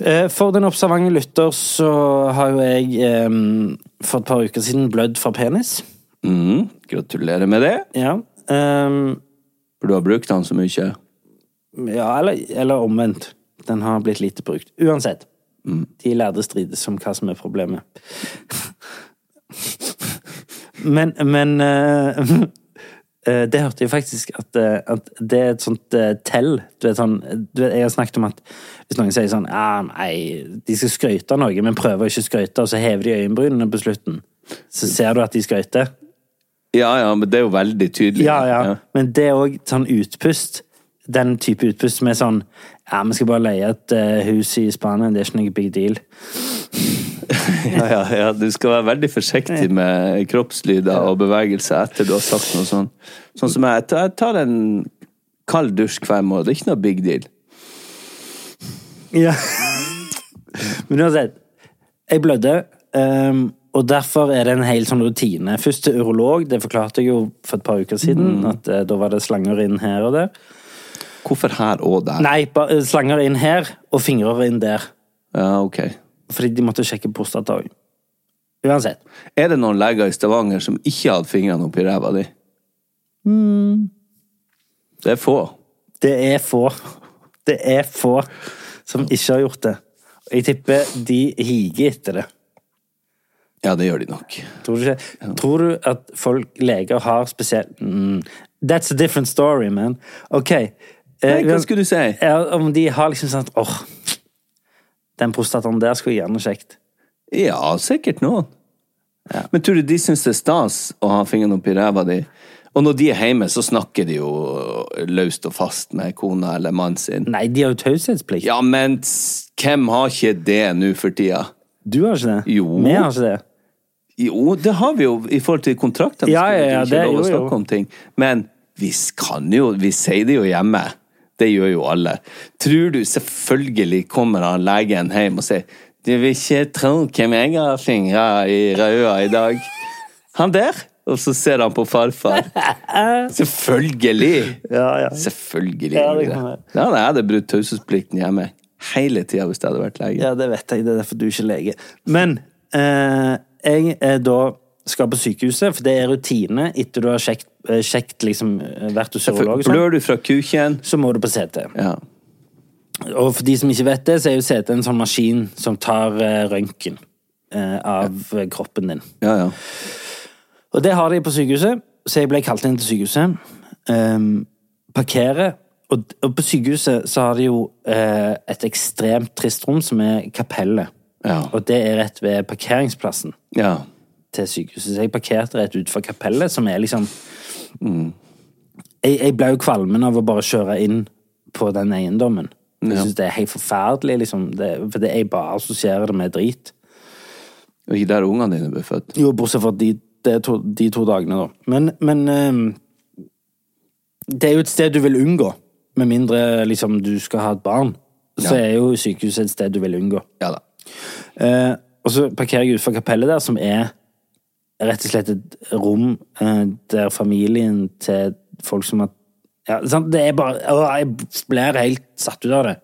Speaker 1: Eh, For den observante lytter så har jo jeg eh, for et par uker siden blødd fra penis.
Speaker 3: Mm, gratulerer med det.
Speaker 1: Ja. Eh,
Speaker 3: For du har brukt den så mye.
Speaker 1: Ja, eller, eller omvendt. Den har blitt lite brukt. Uansett. De lærde strides om hva som er problemet. men men eh, eh, Det hørte jeg faktisk at, eh, at det er et sånt eh, tell. Du vet, sånn, du vet, jeg har snakket om at hvis noen sier sånn ja, Nei, de skal skryte av noe, men prøver å ikke skryte, og så hever de øyenbrynene på slutten. Så ser du at de skryter.
Speaker 3: Ja, ja, men det er jo veldig tydelig.
Speaker 1: Ja, ja. Men det er òg sånn utpust. Den type utpust som er sånn Ja, vi skal bare leie et eh, hus i Spania, det er ikke noe big deal.
Speaker 3: Ja, ja, ja. Du skal være veldig forsiktig med kroppslyder og bevegelser etter du har sagt noe sånn. Sånn som jeg. Jeg tar en kald dusj hver morgen. Det er ikke noe big deal.
Speaker 1: Ja. Men uansett. Jeg blødde, ehm, og derfor er det en hel sånn rutine. Først til urolog, det forklarte jeg jo for et par uker siden. At eh, da var det slanger inn her og der.
Speaker 3: Hvorfor her og der?
Speaker 1: Nei, ba, eh, slanger inn her, og fingrer inn der.
Speaker 3: Ja, ok.
Speaker 1: Fordi de måtte sjekke prostata òg. Uansett.
Speaker 3: Er det noen leger i Stavanger som ikke hadde fingrene oppi ræva di? Det er få.
Speaker 1: Det er få. Det er få som ikke har gjort det. Og jeg tipper de higer etter det.
Speaker 3: Ja, det gjør de nok.
Speaker 1: Tror du, ikke? Tror du at folk, leger, har spesielt mm, That's a different story, man. Ok. eh,
Speaker 3: Nei, hva skulle du si?
Speaker 1: Om de har liksom sånn at åh, den prostataen der skulle jeg gjerne sjekt.
Speaker 3: Ja, sikkert noen. Men tror du de syns det er stas å ha fingrene oppi ræva di? Og når de er hjemme, så snakker de jo øh, løst og fast med kona eller mannen sin.
Speaker 1: Nei, de har jo taushetsplikt.
Speaker 3: Ja, men s- hvem har ikke det nå for tida?
Speaker 1: Du har ikke det?
Speaker 3: Jo.
Speaker 1: Vi har ikke det.
Speaker 3: Jo, det har vi jo i forhold til kontrakten.
Speaker 1: Ja, ja,
Speaker 3: skulle vi
Speaker 1: ja,
Speaker 3: ikke
Speaker 1: det-
Speaker 3: lov å
Speaker 1: jo, jo.
Speaker 3: snakke om ting. Men Vi kan jo Vi sier det jo hjemme. Det gjør jo alle. Tror du selvfølgelig kommer han legen hjem og sier Du vil ikke tro hvem jeg har fingra i røda i dag? Han der? Og så ser han på farfar. Selvfølgelig!
Speaker 1: Ja, ja.
Speaker 3: Selvfølgelig.
Speaker 1: Ja,
Speaker 3: gjør
Speaker 1: det
Speaker 3: vi
Speaker 1: kan være.
Speaker 3: Ja, nei, jeg hadde brutt taushetsplikten hjemme hele tida hvis jeg hadde vært lege.
Speaker 1: Ja, det vet jeg. Det er derfor du ikke er lege. Men eh, jeg eh, da skal på sykehuset, for det er rutine etter du har sjekt, eh, sjekt liksom, eh, vært hos
Speaker 3: For
Speaker 1: urolog, og sånn,
Speaker 3: Blør du fra kuken?
Speaker 1: så må du på CT.
Speaker 3: Ja.
Speaker 1: Og for de som ikke vet det, så er jo CT en sånn maskin som tar eh, røntgen eh, av eh, kroppen din.
Speaker 3: ja, ja.
Speaker 1: Og det har de på sykehuset, så jeg ble kalt inn til sykehuset. Ehm, parkere. Og, og på sykehuset så har de jo eh, et ekstremt trist rom som er kapellet.
Speaker 3: Ja.
Speaker 1: Og det er rett ved parkeringsplassen
Speaker 3: ja.
Speaker 1: til sykehuset. Så jeg parkerte rett utenfor kapellet, som er liksom jeg, jeg ble jo kvalmen av å bare kjøre inn på den eiendommen. Jeg synes det er helt forferdelig, liksom. Det, for det, jeg bare assosierer det med drit.
Speaker 3: Og ikke der ungene dine ble født.
Speaker 1: Jo, bortsett fra de, de, to, de to dagene, da. Men, men ehm, Det er jo et sted du vil unngå. Med mindre liksom, du skal ha et barn, så
Speaker 3: Ja.
Speaker 1: er jo sykehuset et sted du vil unngå.
Speaker 3: Ja da.
Speaker 1: Eh, og så parkerer jeg utenfor kapellet der, som er rett og slett et rom eh, der familien til folk som har ja, sant? Det er bare å, Jeg blir helt satt ut av det.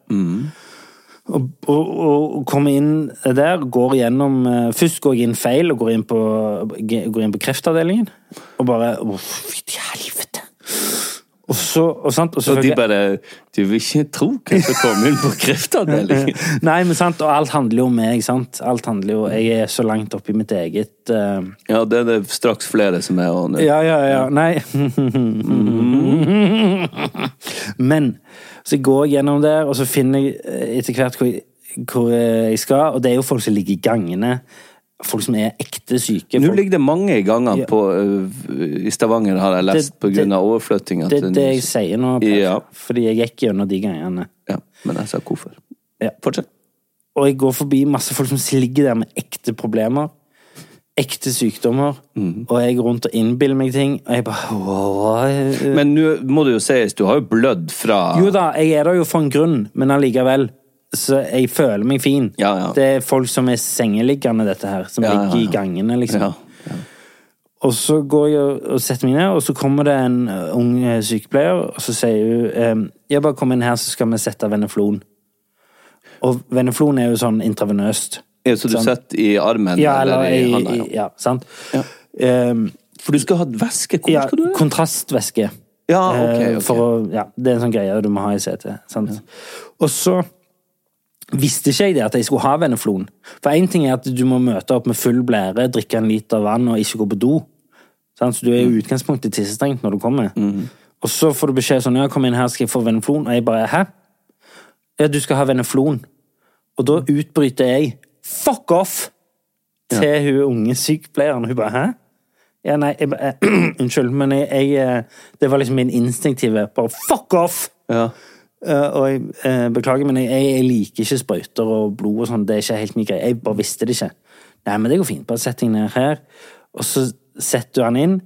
Speaker 1: Og, og, og kommer inn der, går gjennom eh, Først går jeg inn feil og går inn på, går inn på kreftavdelingen. Og bare Å, fy til helvete! Og så, og, sant? og,
Speaker 3: Og de
Speaker 1: selvfølgelig-
Speaker 3: bare Du vil ikke tro hvem som kom inn på kreftavdelingen!
Speaker 1: Nei, men sant, og alt handler jo om meg, sant? Alt handler jo, jeg er så langt opp i mitt eget... eh,
Speaker 3: Ja, det er det straks flere som er og nå.
Speaker 1: Ja, ja, ja, nei. men, så jeg går jeg gjennom der, og så finner jeg eh, etter hvert hvor, hvor eh, jeg skal, og det er jo folk som ligger i gangene, folk som er ekte syke.
Speaker 3: Nå
Speaker 1: folk-
Speaker 3: ligger det mange ganger
Speaker 1: Ja.
Speaker 3: på, øh, i Stavanger, har jeg lest,
Speaker 1: Det-
Speaker 3: på grunn
Speaker 1: det-
Speaker 3: av overflyttinga
Speaker 1: det er det jeg sier nå, Per,
Speaker 3: Ja.
Speaker 1: fordi jeg gikk gjennom de gangene.
Speaker 3: Ja, men jeg sa hvorfor.
Speaker 1: Ja.
Speaker 3: Fortsett.
Speaker 1: Og jeg går forbi masse folk som ligger der med ekte problemer. Ekte sykdommer.
Speaker 3: Mhm.
Speaker 1: Og jeg går rundt og innbiller meg ting, og jeg bare «Åh,
Speaker 3: Men nå må det jo sies, du har jo blødd fra
Speaker 1: Jo da, jeg er der jo for en grunn, men allikevel. Så jeg føler meg fin.
Speaker 3: Ja, ja.
Speaker 1: Det er folk som er sengeliggende, dette her. Som
Speaker 3: Ja, ja,
Speaker 1: ligger i
Speaker 3: ja.
Speaker 1: gangene, liksom.
Speaker 3: Ja.
Speaker 1: Og så går jeg og setter meg ned, og så kommer det en eh, ung eh, sykepleier, og så sier hun ehm, Jeg bare kom inn her, så skal vi sette veneflon. Og veneflon er jo sånn intravenøst.
Speaker 3: Ja, Så du sitter i armen
Speaker 1: Ja, eller
Speaker 3: eller, i handa?
Speaker 1: i,
Speaker 3: Ja.
Speaker 1: i Ja, sant?
Speaker 3: Ja.
Speaker 1: Ehm,
Speaker 3: For du skal ha væske? Hvor
Speaker 1: ja,
Speaker 3: skal du det?
Speaker 1: kontrastvæske.
Speaker 3: Ja, ok.
Speaker 1: Eh,
Speaker 3: ok.
Speaker 1: For å, ja, det er en sånn greie du må ha i CT. Sant? Og så visste ikke jeg det at jeg skulle ha veneflon. For én ting er at du må møte opp med full blære, drikke en liter vann og ikke gå på do. Sant? Så du er jo
Speaker 3: Mm.
Speaker 1: i utgangspunktet tissestrengt når du kommer. Og så får du beskjed sånn ja, kom inn her, skal jeg få veneflon? Og jeg bare hæ? Ja, du skal ha veneflon. Og da utbryter jeg fuck off til hun unge sykepleieren. Hun bare hæ? Ja, nei, jeg, ba- eh, unnskyld, men jeg, jeg eh, Det var liksom min instinktive bare fuck off!
Speaker 3: Ja.
Speaker 1: Eh, og jeg eh, beklager, men jeg, jeg liker ikke sprøyter og blod og sånn. Det er ikke helt min greie. Jeg bare visste det ikke. Nei, men det går fint. Bare sett deg ned her. Og så setter du han inn,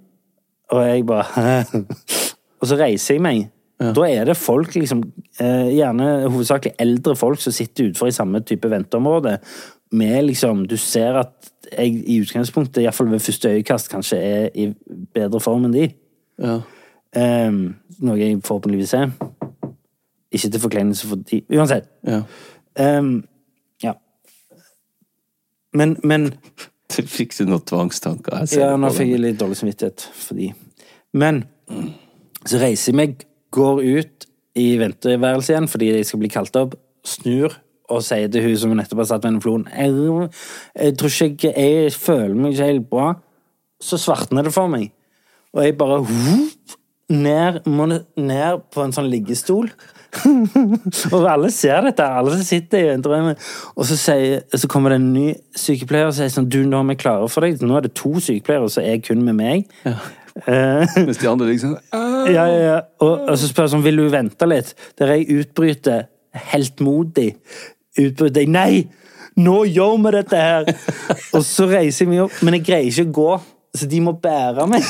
Speaker 1: og jeg bare Og så reiser jeg meg. Da er det folk, liksom, eh, gjerne hovedsakelig eldre folk, som sitter utenfor i samme type venteområde. Med liksom, Du ser at jeg i utgangspunktet, iallfall ved første øyekast, kanskje er i bedre form enn de.
Speaker 3: ja.
Speaker 1: Eh, noe jeg forhåpentligvis er. Ikke til forkleinelse for de Uansett.
Speaker 3: ja.
Speaker 1: Ehm, ja. Men, men
Speaker 3: Du fikk du noen tvangstanker? Jeg ser
Speaker 1: Ja,
Speaker 3: det
Speaker 1: nå
Speaker 3: på
Speaker 1: fikk
Speaker 3: deg.
Speaker 1: jeg litt dårlig samvittighet fordi Men så reiser jeg meg, går ut i venteværelset igjen fordi jeg skal bli kalt opp, snur og sier til hun som nettopp har satt meg i floen jeg, jeg tror ikke jeg, jeg føler meg ikke helt bra. Så svartner det for meg. Og jeg bare whoop, ned, må ned på en sånn liggestol. og alle ser dette, alle som sitter i venterommet. Og så, sier, så kommer det en ny sykepleier og sier sånn Du, nå er vi klare for deg. Nå er det to sykepleiere som er kun med meg. Eh,
Speaker 3: Mens de andre liksom «Æ».
Speaker 1: ja, ja, ja. Og, og så spør jeg sånn, vil du vente litt? Der jeg utbryter, helt modig, utbryter jeg, nei, nå gjør vi dette her. og så reiser jeg meg opp, men jeg greier ikke å gå, så de må bære meg.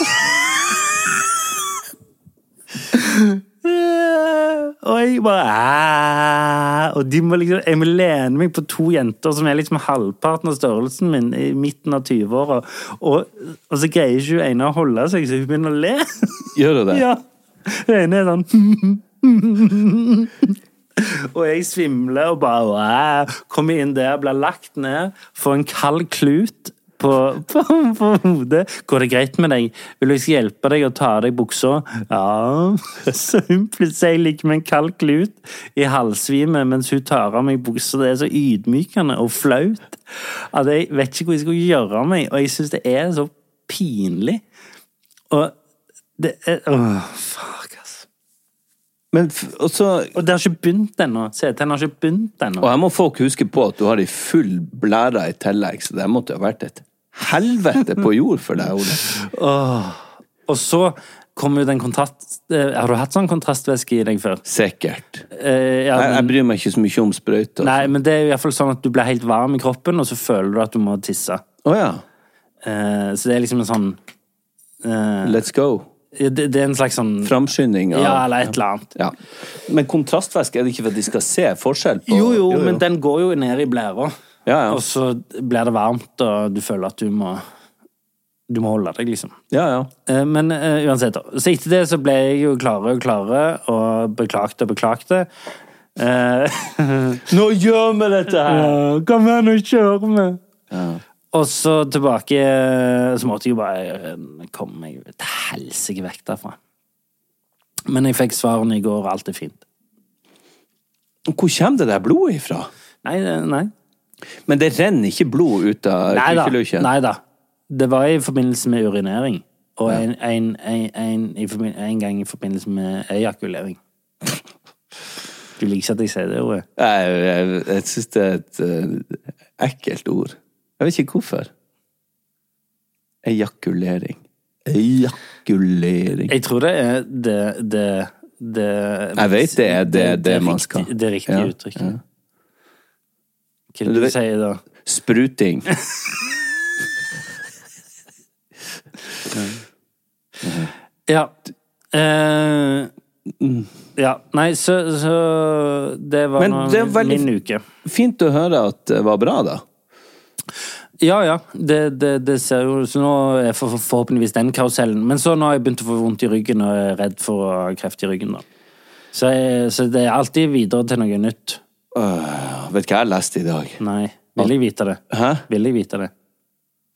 Speaker 1: Og jeg bare "Ah." Og de må liksom, jeg må lene meg på to jenter som er liksom halvparten av størrelsen min, i midten av 20-åra. Og, og så greier ikke hun ene å holde seg, så hun begynner å le.
Speaker 3: Gjør du det?
Speaker 1: Ja. Hun ene er sånn Og jeg svimler og bare wow, Kommer inn der, blir lagt ned, får en kald klut på, på, på hodet. 'Går det greit med deg? Vil jeg hjelpe deg å ta av deg buksa?' Ja. Så hun plutselig ligger med en kald klut i halvsvime mens hun tar av meg buksa. Det er så ydmykende og flaut at jeg vet ikke hvor jeg skal gjøre av meg, og jeg syns det er så pinlig. Og det er Åh, fuck, altså.
Speaker 3: Men, f- og, så,
Speaker 1: Og det har ikke begynt ennå. CT-en har ikke begynt ennå.
Speaker 3: og her må folk huske på at du har ei full blære i tillegg, så det måtte ha vært et helvete på jord for deg, Ole.
Speaker 1: Og så kommer jo den kontrast... eh, Har du hatt sånn kontrastvæske i deg før?
Speaker 3: Sikkert.
Speaker 1: Eh, ja,
Speaker 3: Jeg, jeg
Speaker 1: men,
Speaker 3: bryr meg ikke så mye om sprøyter.
Speaker 1: nei, men det er jo iallfall sånn at du blir helt varm i kroppen, og så føler du at du må tisse.
Speaker 3: Å ja.
Speaker 1: Eh, så det er liksom en sånn eh,
Speaker 3: Let's go.
Speaker 1: ja, det, det er en slags sånn
Speaker 3: Framskynding. av-
Speaker 1: Ja, eller et eller annet.
Speaker 3: Ja. Men kontrastvæske er det ikke for at de skal se forskjell på
Speaker 1: Jo, jo, men den går jo ned i blæra.
Speaker 3: Ja, ja.
Speaker 1: Og så blir det varmt, og du føler at du må Du må holde deg, liksom.
Speaker 3: Ja, ja.
Speaker 1: Eh, Men eh, uansett, da. Så etter det så ble jeg jo klarere og klarere, og beklagte og beklagte. Eh,
Speaker 3: Nå gjør vi dette
Speaker 1: Ja, kom her, nå kjører vi! Og så tilbake eh, Så måtte jeg jo bare eh, komme meg til helsike vekk derfra. Men jeg fikk svarene i går, og alt er fint.
Speaker 3: Hvor kommer det der blodet ifra?
Speaker 1: Nei, eh, nei.
Speaker 3: Men det renner ikke blod ut av
Speaker 1: Nei da.
Speaker 3: kukuløkken?
Speaker 1: Nei da. Det var i forbindelse med urinering. Og en, en, en, en, i forbi- en gang i forbindelse med ejakulering. Du liker ikke at jeg sier det ordet?
Speaker 3: Jeg, jeg, jeg syns det er et eh, ekkelt ord. Jeg vet ikke hvorfor. Ejakulering. Ejakulering.
Speaker 1: Jeg tror det er det, det, det
Speaker 3: Jeg vet det er det- det man skal.
Speaker 1: riktig- Det riktige
Speaker 3: Ja,
Speaker 1: uttrykket.
Speaker 3: ja.
Speaker 1: Hva er
Speaker 3: Du
Speaker 1: det
Speaker 3: vet-
Speaker 1: du sier da?
Speaker 3: Spruting.
Speaker 1: Ja. Eh, ja. Nei, så, så Det var
Speaker 3: Mm. Men
Speaker 1: nå
Speaker 3: det er veldig-
Speaker 1: min uke.
Speaker 3: Fint å høre at det var bra, da.
Speaker 1: Ja, ja. Det, det, det ser jo Så nå er for, for, forhåpentligvis den karusellen. Men så nå har jeg begynt å få vondt i ryggen og er redd for å ha kreft i ryggen. da. Så, jeg, så det er alltid videre til noe nytt.
Speaker 3: Øh, vet du hva jeg leste i dag?
Speaker 1: Nei. Vil jeg vite det?
Speaker 3: Hæ?
Speaker 1: Vil jeg vite det?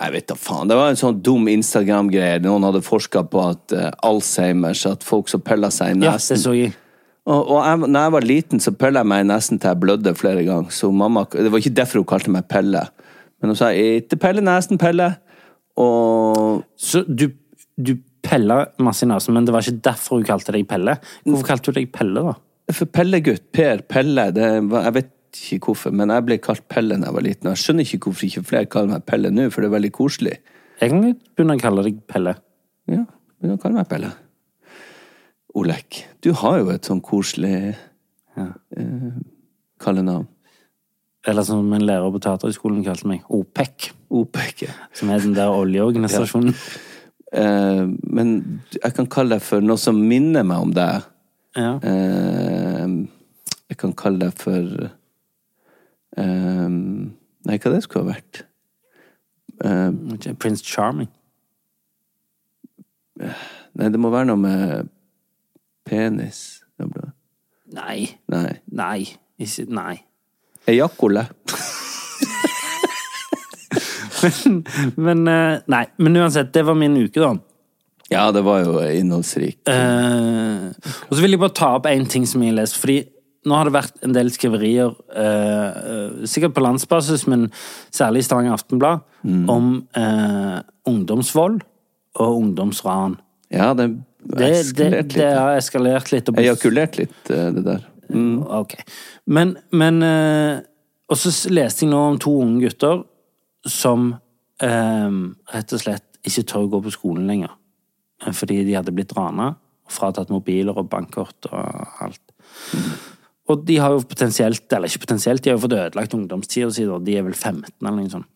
Speaker 3: Jeg vet da faen. Det var en sånn dum Instagram-greie. Noen hadde forska på at eh, Alzheimers, at folk som piller seg i
Speaker 1: Ja,
Speaker 3: nesen
Speaker 1: det så jeg.
Speaker 3: Og, og jeg, når jeg var liten, så pilla jeg meg i nesen til jeg blødde flere ganger. Så mamma, Det var ikke derfor hun kalte meg Pelle. Men hun sa 'ikke pelle nesen, Pelle'. Og
Speaker 1: Så du, du pella masse i nesen, men det var ikke derfor hun kalte deg Pelle? Hvorfor kalte hun deg Pelle, da?
Speaker 3: for Pellegutt, Per, Pelle det var, Jeg vet ikke hvorfor, men jeg ble kalt Pelle da jeg var liten. Og jeg skjønner ikke hvorfor ikke flere kaller meg Pelle nå, for det er veldig koselig.
Speaker 1: Jeg kan godt begynne å kalle deg Pelle.
Speaker 3: Ja, men du kaller meg Pelle. Olek, du har jo et sånn koselig eh, kallenavn.
Speaker 1: Eller som en lærer på Teaterhøgskolen kalte meg, OPEC.
Speaker 3: Opeke.
Speaker 1: Som er den der oljeorganisasjonen.
Speaker 3: Eh, men jeg kan kalle deg for noe som minner meg om deg.
Speaker 1: Ja.
Speaker 3: Eh, jeg kan kalle deg for eh, Nei, hva det skulle ha vært? Eh,
Speaker 1: Prince Charming.
Speaker 3: nei, det må være noe med penis. Det blir-
Speaker 1: Nei.
Speaker 3: Nei.
Speaker 1: Nei. Ikke, nei.
Speaker 3: Ejakole.
Speaker 1: Men, eh, nei. Men uansett, det var min uke, da.
Speaker 3: Ja, det var jo innholdsrik.
Speaker 1: Eh, og så vil jeg bare ta opp én ting som jeg har lest. Fordi nå har det vært en del skriverier, eh, eh, sikkert på landsbasis, men særlig i Stavanger Aftenblad, om eh, ungdomsvold og ungdomsran.
Speaker 3: Ja, det
Speaker 1: Det, det,
Speaker 3: eskalerte litt.
Speaker 1: det har eskalert litt. Og blitt-
Speaker 3: Ejakulert litt, eh, det der.
Speaker 1: Ok. Men, men eh, Og så s- leste jeg nå om to unge gutter som eh, rett og slett ikke tør å gå på skolen lenger. Eh, Fordi de hadde blitt rana og fratatt mobiler og bankkort og alt. Og de har jo potensielt, eller ikke potensielt, de har jo fått ødelagt ungdomstida si, da. De er vel 15 eller noe sånt.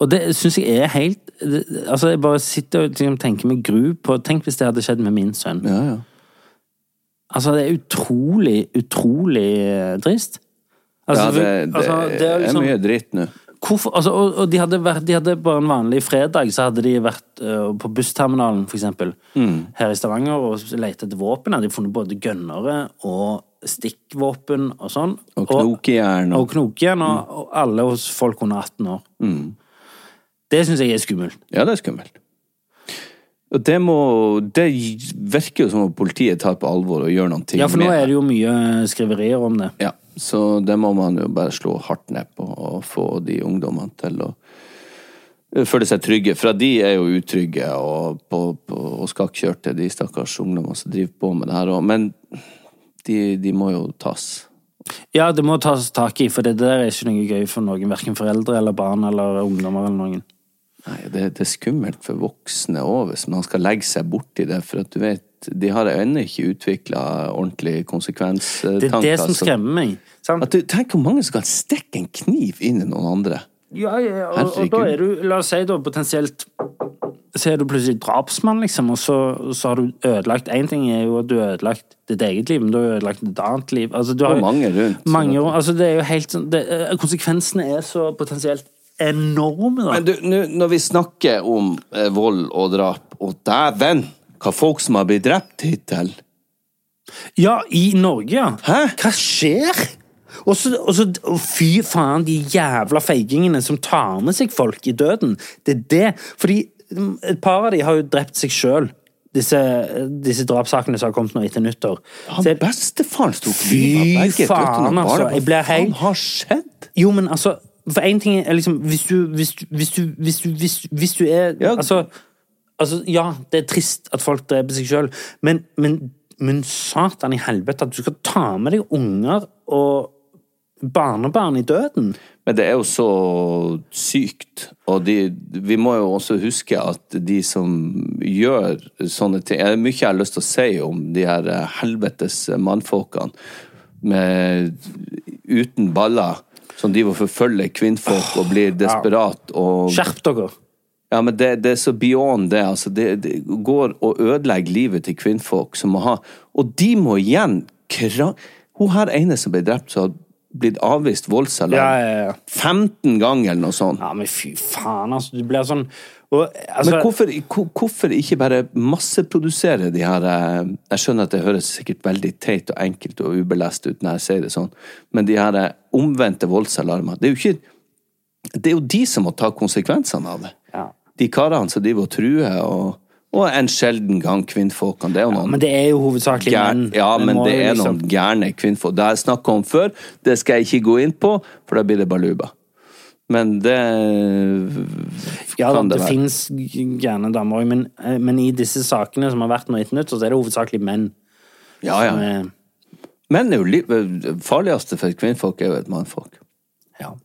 Speaker 1: Og det syns jeg er helt det, Altså, jeg bare sitter og liksom, tenker med gru på Tenk hvis det hadde skjedd med min sønn.
Speaker 3: Ja, ja.
Speaker 1: Altså, det er utrolig, utrolig eh, trist. Altså,
Speaker 3: ja det, det,
Speaker 1: altså, det er
Speaker 3: er,
Speaker 1: liksom-
Speaker 3: mye dritt nå.
Speaker 1: Hvorfor, altså, og og de, hadde vært, de hadde bare en vanlig fredag, så hadde de vært øh, på bussterminalen, for eksempel, her i Stavanger, og lett etter våpen. Hadde de funnet både gønnere og stikkvåpen og sånn.
Speaker 3: Og
Speaker 1: Og, Mm.
Speaker 3: knokejern og-
Speaker 1: og knokejern, og, og alle hos folk under 18 år. Det syns jeg er skummelt.
Speaker 3: Ja, det er skummelt. Og det må Det virker jo som om politiet tar på alvor og gjør noen ting
Speaker 1: Ja, for nå er det jo mye eh, skriverier om det.
Speaker 3: Ja, så det må man jo bare slå hardt ned på og få de ungdommene til å eh, føle seg trygge. For de er jo utrygge og, på, på, og skal ikke kjøre til de stakkars ungdommene som driver på med det her òg. Men de, de må jo tas.
Speaker 1: Ja, det må tas tak i, for det der er ikke noe gøy for noen. Verken foreldre eller barn eller ungdommer eller noen.
Speaker 3: Nei, det, det er skummelt for voksne òg, hvis man skal legge seg borti det. For at du vet, de har ennå ikke utvikla ordentlige konsekvenstanker.
Speaker 1: Det er altså. det som
Speaker 3: så-
Speaker 1: skremmer meg. sant?
Speaker 3: At du, tenk hvor mange som kan stikke en kniv inn i noen andre.
Speaker 1: Ja, ja og, og da
Speaker 3: Herregud.
Speaker 1: er du, la oss si da, potensielt Så er du plutselig drapsmann, liksom, og så, så har du ødelagt Én ting er jo at du har ødelagt ditt eget liv, men du har ødelagt et annet liv. Altså, du har,
Speaker 3: Og mange rundt.
Speaker 1: Mange, rundt. altså, det er jo helt sånn det, eh, Konsekvensene er så potensielt enorme, da.
Speaker 3: Men du, nå når vi snakker om eh, vold og drap, og dæven, hva folk som har blitt drept hittil
Speaker 1: Ja, i Norge, ja.
Speaker 3: Hæ?
Speaker 1: Hva skjer? Og så, og så og Fy faen, de jævla feigingene som tar med seg folk i døden. Det er det. Fordi mm, et par av de har jo drept seg sjøl. Disse, disse drapssakene som har kommet nå etter nyttår.
Speaker 3: Han
Speaker 1: Så jeg-
Speaker 3: bestefaren sto og
Speaker 1: Fy
Speaker 3: kniva begge
Speaker 1: faen,
Speaker 3: døtrene og
Speaker 1: altså,
Speaker 3: bare
Speaker 1: jeg ble helt-
Speaker 3: Hva faen har skjedd?
Speaker 1: Jo, men altså For én ting er liksom Hvis du Hvis du Hvis du, hvis du, hvis du, hvis du er
Speaker 3: Ja.
Speaker 1: Altså Altså, ja, det er trist at folk dreper seg sjøl, men, men, men satan i helvete at du skal ta med deg unger og barnebarn i døden!
Speaker 3: Men det er jo så sykt, og de, vi må jo også huske at de som gjør sånne ting Det er mye jeg har lyst til å si om de her eh, helvetes mannfolkene med, uten baller, som driver og forfølger kvinnfolk og
Speaker 1: Ah,
Speaker 3: blir desperat og
Speaker 1: Skjerp dere!
Speaker 3: Ja, men det, det er så beyond det. Altså, det, det går og ødelegger livet til kvinnfolk som må ha Og de må igjen kra... Hun her ene som ble drept, som har blitt avvist voldsalarm
Speaker 1: Ja, ja, ja.
Speaker 3: 15 ganger eller noe sånt.
Speaker 1: Ja, men fy faen, altså. Du blir sånn og, altså,
Speaker 3: Men hvorfor, hvor- hvorfor ikke bare masseprodusere de her eh, Jeg skjønner at det høres sikkert veldig teit og enkelt og ubelest ut når jeg sier det sånn, men de her eh, omvendte voldsalarmer Det er jo ikke Det er jo de som må ta konsekvensene av det.
Speaker 1: Ja.
Speaker 3: De karene som driver og truer, og, og en sjelden gang kvinnfolkene. Det er jo noen
Speaker 1: Men det er jo hovedsakelig menn.
Speaker 3: gær- Ja,
Speaker 1: Vi
Speaker 3: men
Speaker 1: må
Speaker 3: det
Speaker 1: jo liksom-
Speaker 3: er noen gærne kvinnfolk. Det har jeg snakka om før, det skal jeg ikke gå inn på, for da blir det baluba. Men det eh,
Speaker 1: Ja,
Speaker 3: kan
Speaker 1: det, det
Speaker 3: det være.
Speaker 1: fins gærne damer òg, men, eh, men i disse sakene som har vært nå etter nytt, så er det hovedsakelig menn.
Speaker 3: Ja, ja.
Speaker 1: som er-
Speaker 3: Menn er jo li det farligste for et kvinnfolk er jo et mannfolk.
Speaker 1: Ja.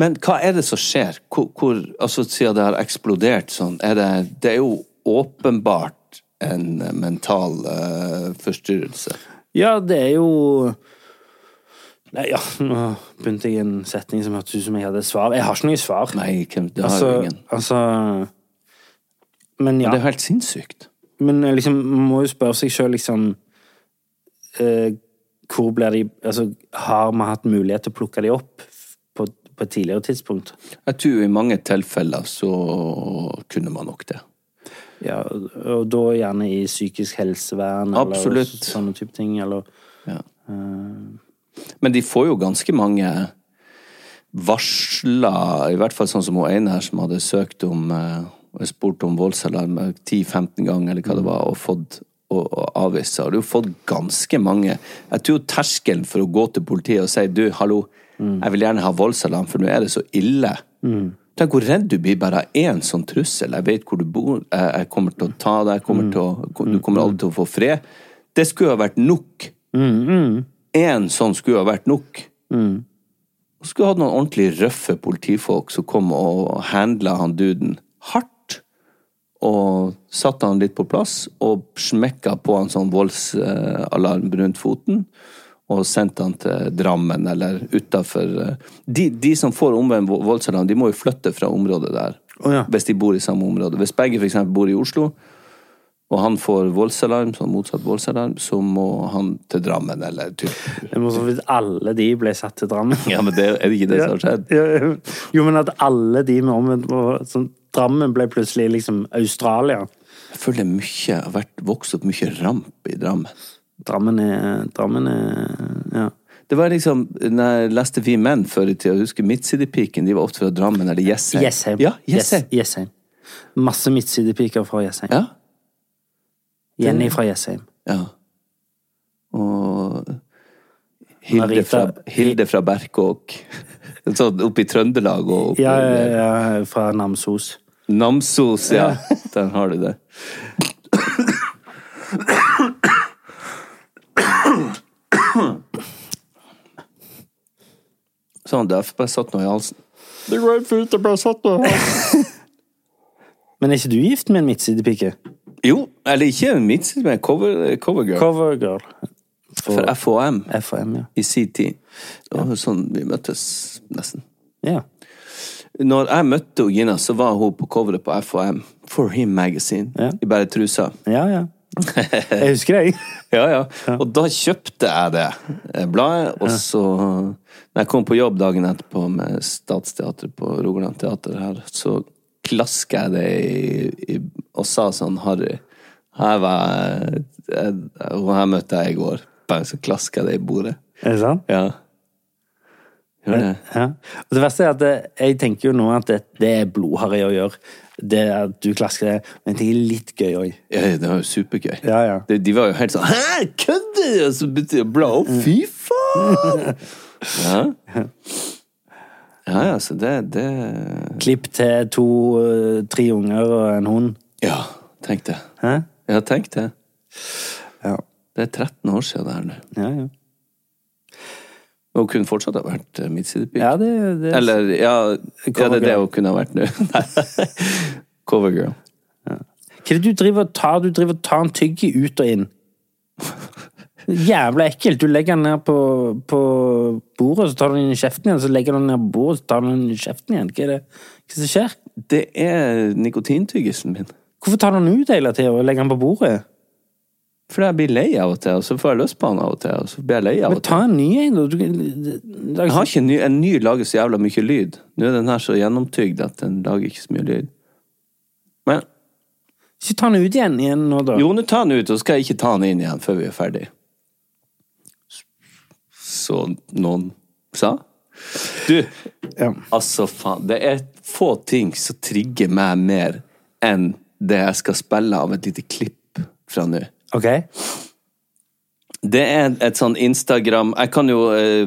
Speaker 3: Men hva er det som skjer? Hvor, hvor altså Siden det har eksplodert sånn, er det, det er jo åpenbart en mental eh, forstyrrelse.
Speaker 1: Ja, det er jo Nei, ja, nå begynte jeg en setning som hørtes ut som jeg hadde et svar. Jeg har ikke noe svar.
Speaker 3: Nei, hvem- det har
Speaker 1: altså,
Speaker 3: jo ingen.
Speaker 1: altså Men ja.
Speaker 3: Det er jo helt sinnssykt.
Speaker 1: Men eh, liksom, man må jo spørre seg sjøl, liksom eh, Hvor blir de Altså, har vi hatt mulighet til å plukke de opp på, på et tidligere tidspunkt?
Speaker 3: Jeg tror i mange tilfeller så kunne man nok det.
Speaker 1: Ja, og, og da gjerne i psykisk helsevern
Speaker 3: Absolutt.
Speaker 1: eller sånne type ting, eller
Speaker 3: Ja. Men de får jo ganske mange varsler, i hvert fall sånn som hun ene her som hadde søkt om eh, og spurt om voldsalarm eh, 10-15 ganger eller hva det var, og fått og og avvist seg. Har du fått ganske mange Jeg tror terskelen for å gå til politiet og si du, hallo, jeg vil gjerne ha voldsalarm, for nå er det så ille. Tenk hvor redd du blir bare av én sånn trussel. Jeg vet hvor du bor, jeg, jeg kommer til å ta deg, jeg kommer til å, du kommer aldri til å få fred. Det skulle ha vært nok. Én sånn skulle ha vært nok. Og skulle hatt noen ordentlig røffe politifolk som kom og handla han duden hardt. Og satte han litt på plass og smekka på en sånn voldsalarm rundt foten. og sendt han til Drammen eller utafor de, de som får omvendt vo- voldsalarm, de må jo flytte fra området der.
Speaker 1: Å ja.
Speaker 3: Hvis de bor i samme område. Hvis begge f.eks. bor i Oslo, og han får voldsalarm, sånn motsatt voldsalarm, så må han til Drammen eller typ.
Speaker 1: Det må så vidt alle de ble satt til Drammen.
Speaker 3: Ja, men det, er det ikke det som har skjedd?
Speaker 1: Ja, Jo, men at alle de med omvendt på- sånn, Drammen ble plutselig liksom Australia.
Speaker 3: Jeg føler mye, jeg har vært, vokst opp mye ramp i Drammen.
Speaker 1: Drammen er Drammen er Ja.
Speaker 3: Det var liksom, når jeg leste Vi Menn før i tida, jeg husker Midtsidepiken, de var ofte fra Drammen eller Jessheim.
Speaker 1: Jessheim.
Speaker 3: Ja, Jessheim.
Speaker 1: Yes- Jessheim. Masse midtsidepiker fra Jessheim.
Speaker 3: Ja.
Speaker 1: Jenny fra Jessheim.
Speaker 3: ja. Og Hilde
Speaker 1: Marita-
Speaker 3: fra, Hilde fra Berkåk. Sånn oppe i Trøndelag og oppe
Speaker 1: Ja, ja, ja, fra Namsos.
Speaker 3: i Namsos, ja. Der har du det. Sånn, det har bare satt noe i halsen.
Speaker 1: Det går fint, det ble satt der. Men er ikke du gift med en midtsidepike?
Speaker 3: Jo, eller ikke en midtside, men cover, covergirl.
Speaker 1: Covergirl.
Speaker 3: for FHM.
Speaker 1: FHM, ja.
Speaker 3: i sin tid. Det var jo sånn vi møttes, nesten.
Speaker 1: ja.
Speaker 3: Når jeg møtte hun Gina, så var hun på coveret på FHM, For Him Magazine,
Speaker 1: Ja.
Speaker 3: i bare trusa.
Speaker 1: Ja, ja. Jeg husker deg.
Speaker 3: Ja, ja. Og da kjøpte jeg det eh, bladet, og så Når jeg kom på jobb dagen etterpå med Statsteatret på Rogaland Teater her, så klaska jeg det i, i, og sa sånn Harry, her var jeg, jeg, hun her møtte jeg i går. Bang, så klaska jeg det i bordet.
Speaker 1: Er det sant?
Speaker 3: Ja. Gjør det?
Speaker 1: Ja. Og det verste er at eh, jeg tenker jo nå at det, det er blodharry å gjøre. Det at du klasker det. Men det er litt gøy òg.
Speaker 3: Ja, det var jo supergøy.
Speaker 1: Ja, ja.
Speaker 3: De, de var jo helt sånn Hæ, kødder du?! Og så begynte de å bla opp. Fy faen! Ja. Ja, ja, så det, det
Speaker 1: Klipp til to-tre unger og en hund.
Speaker 3: Ja, tenk det.
Speaker 1: Hæ?
Speaker 3: Ja, tenk det.
Speaker 1: Ja.
Speaker 3: Det er 13 år siden det her nå.
Speaker 1: Ja, ja.
Speaker 3: Men Hun kunne fortsatt ha vært eh, midtsidepike.
Speaker 1: ja det, det
Speaker 3: Eller ja, ja, det er det hun kunne ha vært nå. Nei. Covergirl.
Speaker 1: Hva er det du driver og tar? Du driver og tar en tyggi ut og inn. Jævla ekkelt. Du legger den ned på, på bordet, så tar du den inn i kjeften igjen. Så legger du den ned på bordet, så tar du den inn i kjeften igjen. Hva er det Hva som skjer?
Speaker 3: Det er nikotintyggisen min.
Speaker 1: Hvorfor tar du den ut hele tida og legger den på bordet?
Speaker 3: Fordi jeg blir lei av og til, og så får jeg lyst på han av og til, og så blir jeg lei av
Speaker 1: Men
Speaker 3: og til.
Speaker 1: ta en ny en, da. Du- det- det er
Speaker 3: Jeg har ikke en ny, en ny lager så jævla mye lyd. Nå er den her så gjennomtygd at den lager ikke så mye lyd. Men
Speaker 1: Ikke ta den ut igjen, igjen nå, da.
Speaker 3: jo, nå tar den ut, og så skal jeg ikke ta den inn igjen før vi er ferdig. Så noen sa. Du,
Speaker 1: Ja.
Speaker 3: altså faen. Det er få ting som trigger meg mer enn det jeg skal spille av et lite klipp fra nå.
Speaker 1: Ok?
Speaker 3: Det er et sånn Instagram Jeg kan jo eh,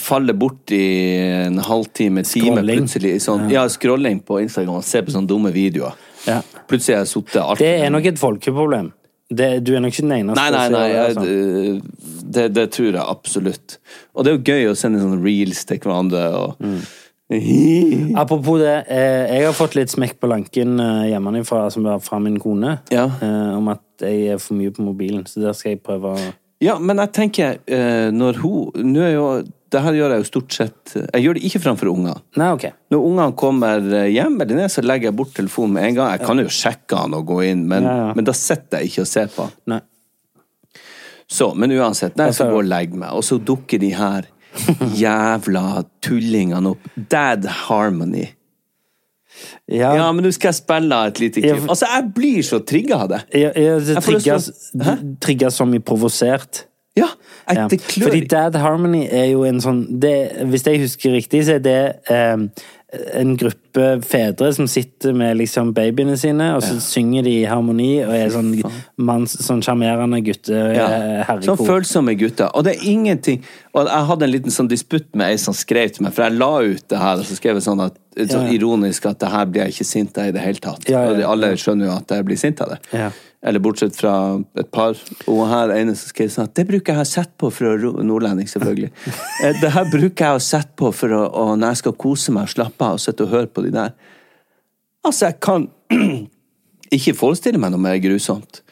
Speaker 3: falle bort i en halvtime, time
Speaker 1: Scrolling.
Speaker 3: plutselig. i Sånn, ja. scrolling på Instagram og se på sånne dumme videoer.
Speaker 1: Ja.
Speaker 3: Plutselig har jeg sittet alt
Speaker 1: Det er nok et folkeproblem. Det, du er nok ikke den eneste.
Speaker 3: Nei, nei,
Speaker 1: som
Speaker 3: nei.
Speaker 1: gjør
Speaker 3: Jeg,
Speaker 1: det, altså.
Speaker 3: eh, det, det tror jeg absolutt. Og det er jo gøy å sende sånne reels til hverandre og
Speaker 1: Apropos det, eh, jeg har fått litt smekk på lanken eh, hjemmefra som var fra min kone,
Speaker 3: Ja.
Speaker 1: eh, om at jeg er for mye på mobilen, så der skal jeg prøve å
Speaker 3: Ja, men jeg tenker, eh, når hun Nå er jo Det her gjør jeg jo stort sett Jeg gjør det ikke framfor ungene.
Speaker 1: Nei, ok.
Speaker 3: Når ungene kommer eh, hjem, eller ned, så legger jeg bort telefonen med en gang. Jeg kan jo sjekke han og gå inn, men,
Speaker 1: Ja, ja.
Speaker 3: men da sitter jeg ikke og ser på. han.
Speaker 1: Nei.
Speaker 3: Så, Men uansett, nei, så går og legger meg, og så dukker de her jævla tullingene opp. Dad Harmony.
Speaker 1: Ja,
Speaker 3: Ja, men nå skal jeg spille et lite
Speaker 1: Ja,
Speaker 3: klipp.
Speaker 1: for-
Speaker 3: Altså, jeg blir så trigga av det.
Speaker 1: jeg, jeg, det
Speaker 3: Jeg får lyst til å-
Speaker 1: trigges- d- trigges som i provosert.
Speaker 3: Ja, jeg,
Speaker 1: Ja.
Speaker 3: det klør
Speaker 1: Fordi Dad Harmony er jo en sånn det, Hvis jeg husker riktig, så er det eh, en gruppe fedre som sitter med liksom babyene sine, og så synger de i harmoni og er sånn manns, sånn sjarmerende gutte
Speaker 3: Ja.
Speaker 1: eh, herrekor.
Speaker 3: Sånn følsomme gutter. Og det er ingenting Og jeg hadde en liten sånn disputt med ei som skrev til meg, for jeg la ut det her, og så skrev jeg sånn, at, sånn ironisk at det her blir jeg ikke sint av i det hele tatt.
Speaker 1: Ja, ja,
Speaker 3: Og de-
Speaker 1: ja.
Speaker 3: alle skjønner jo at jeg blir sint av det.
Speaker 1: Ja.
Speaker 3: Eller bortsett fra et par. Og her ene som skrev sånn at det bruker jeg å sette på for å ro- Nordlending, selvfølgelig. Eh, det her bruker jeg å sette på for å, å, når jeg skal kose meg og slappe av og sitte og høre på de der. Altså, jeg kan ikke forestille meg noe mer grusomt.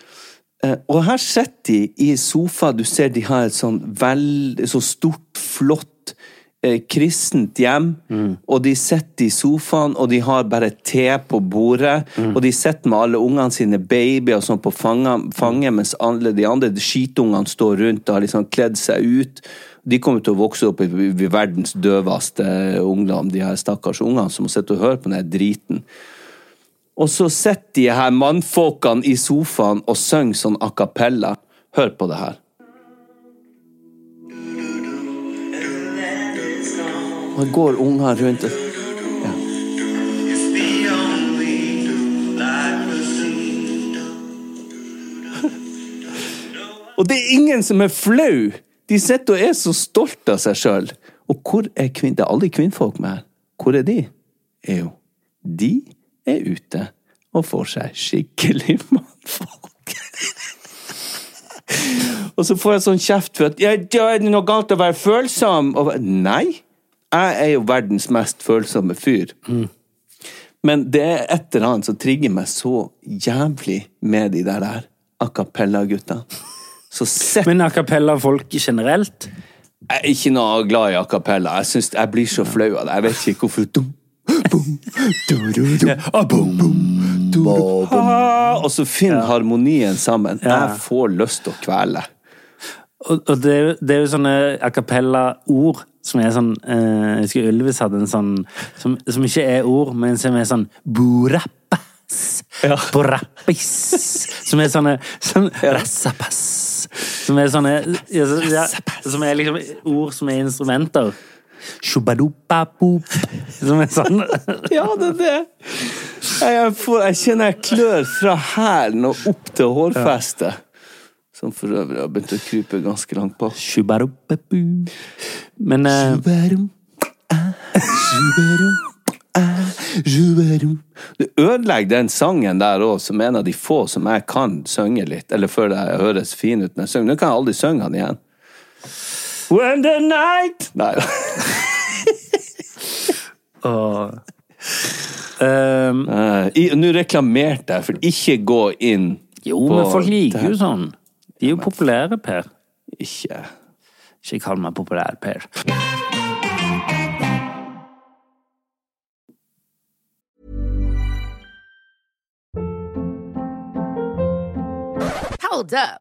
Speaker 3: Eh, Og her sitter de i sofa, du ser de har et sånn veld, så stort, flott eh, kristent hjem, og de sitter i sofaen, og de har bare te på bordet, og de sitter med alle ungene sine, babyer og sånn på fanget, fanget mens alle de andre skitungene står rundt og har liksom kledd seg ut. De kommer til å vokse opp i, i verdens døveste ungdom, de her stakkars ungene som sitter og hører på den her driten. Og så sitter de her mannfolkene i sofaen og synger sånn a cappella. Hør på det her. Og det går ungene rundt og ja. Og det er ingen som er flau! De sitter og er så stolte av seg sjøl. Og hvor er kvinn... Det er alle kvinnfolk med her. Hvor er de? Er jo De er ute og får seg skikkelig mannfolk. og så får jeg sånn kjeft for at ja, da er det noe galt å være følsom. Og, jeg bare, nei, jeg er jo verdens mest følsomme fyr. Men det er et eller annet som trigger meg så jævlig med de der der a cappella-gutta. Så sett
Speaker 1: Men a cappella-folk generelt?
Speaker 3: jeg er ikke noe glad i a cappella. Jeg, synes- jeg blir så flau av det. Jeg vet ikke hvorfor. Dum, bum, du, du, du, ah, bum, bum, du, du, ah. Og så finn harmonien sammen. Jeg får lyst til å kvele.
Speaker 1: Og, og det, er jo- det er jo sånne a cappella-ord som er sånn eh, Jeg husker Ylvis hadde en sånn som, som ikke er ord, men som er sånn burappas. Borappis. Som er sånne sånn, Rassapass. Som er sånne ja, så- ja, Som er liksom ord som er instrumenter. Shubadupapup. Som er sånn
Speaker 3: Ja, det er det. Jeg, jeg, får, jeg kjenner jeg klør fra hælen og opp til hårfestet. Som for øvrig har begynt å krype ganske langt på.
Speaker 1: Shubadupapu. Men eh,
Speaker 3: Juberum, ah, juberum, ah, juberum. Du ødelegger den sangen der òg, som en av de få som jeg kan synge litt. Eller før det høres fin ut når jeg synger. Nå kan jeg aldri synge den igjen.
Speaker 1: When the night
Speaker 3: Nei.
Speaker 1: og, Ehm,
Speaker 3: Eh, i- Nå reklamerte jeg for ikke gå inn
Speaker 1: Jo,
Speaker 3: på
Speaker 1: men folk
Speaker 3: det
Speaker 1: liker
Speaker 3: her.
Speaker 1: jo sånn. De er jo populære, Per.
Speaker 3: Ikke
Speaker 1: Ikke kall meg populær, Per.
Speaker 5: Hold up.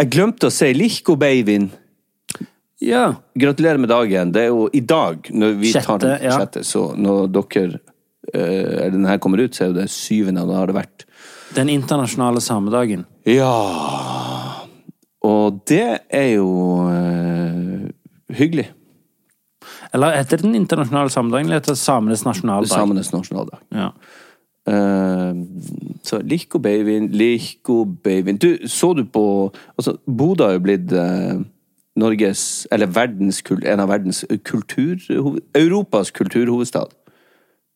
Speaker 3: Jeg glemte å si 'Lichko Beivin'.
Speaker 1: Ja.
Speaker 3: Gratulerer med dagen. Det er jo i dag, når vi tar den
Speaker 1: Sjette, ja.
Speaker 3: sjette, så når dere eh, eller den her kommer ut, så er jo det syvende, og da har det vært
Speaker 1: Den internasjonale samedagen.
Speaker 3: Ja Og det er jo eh, hyggelig.
Speaker 1: Eller heter den internasjonale samedagen, eller heter det samenes nasjonaldag?
Speaker 3: Samenes nasjonaldag.
Speaker 1: Ja.
Speaker 3: Eh, så Lichko Beivin, Lichko Beivin Du, så du på altså, Bodø har jo blitt eh, Norges, eller verdens, kul- en av verdens kultur... Europas kulturhovedstad.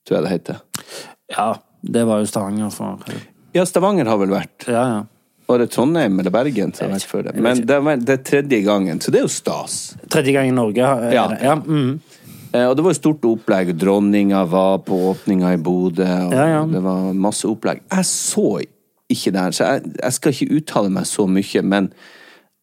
Speaker 3: tror jeg det heter.
Speaker 1: Ja, det var jo Stavanger for
Speaker 3: Ja, Stavanger har vel vært.
Speaker 1: Ja, ja.
Speaker 3: Var det Trondheim eller Bergen som har vært før det? Men det er, det er tredje gangen, så det er jo stas.
Speaker 1: Tredje gang i Norge. eh,
Speaker 3: Ja.
Speaker 1: ja mm.
Speaker 3: Eh, Og det var jo stort opplegg. Dronninga var på åpninga i Bodø, og
Speaker 1: Ja, ja.
Speaker 3: det var masse opplegg. Jeg så ikke det her, så jeg, jeg skal ikke uttale meg så mye, men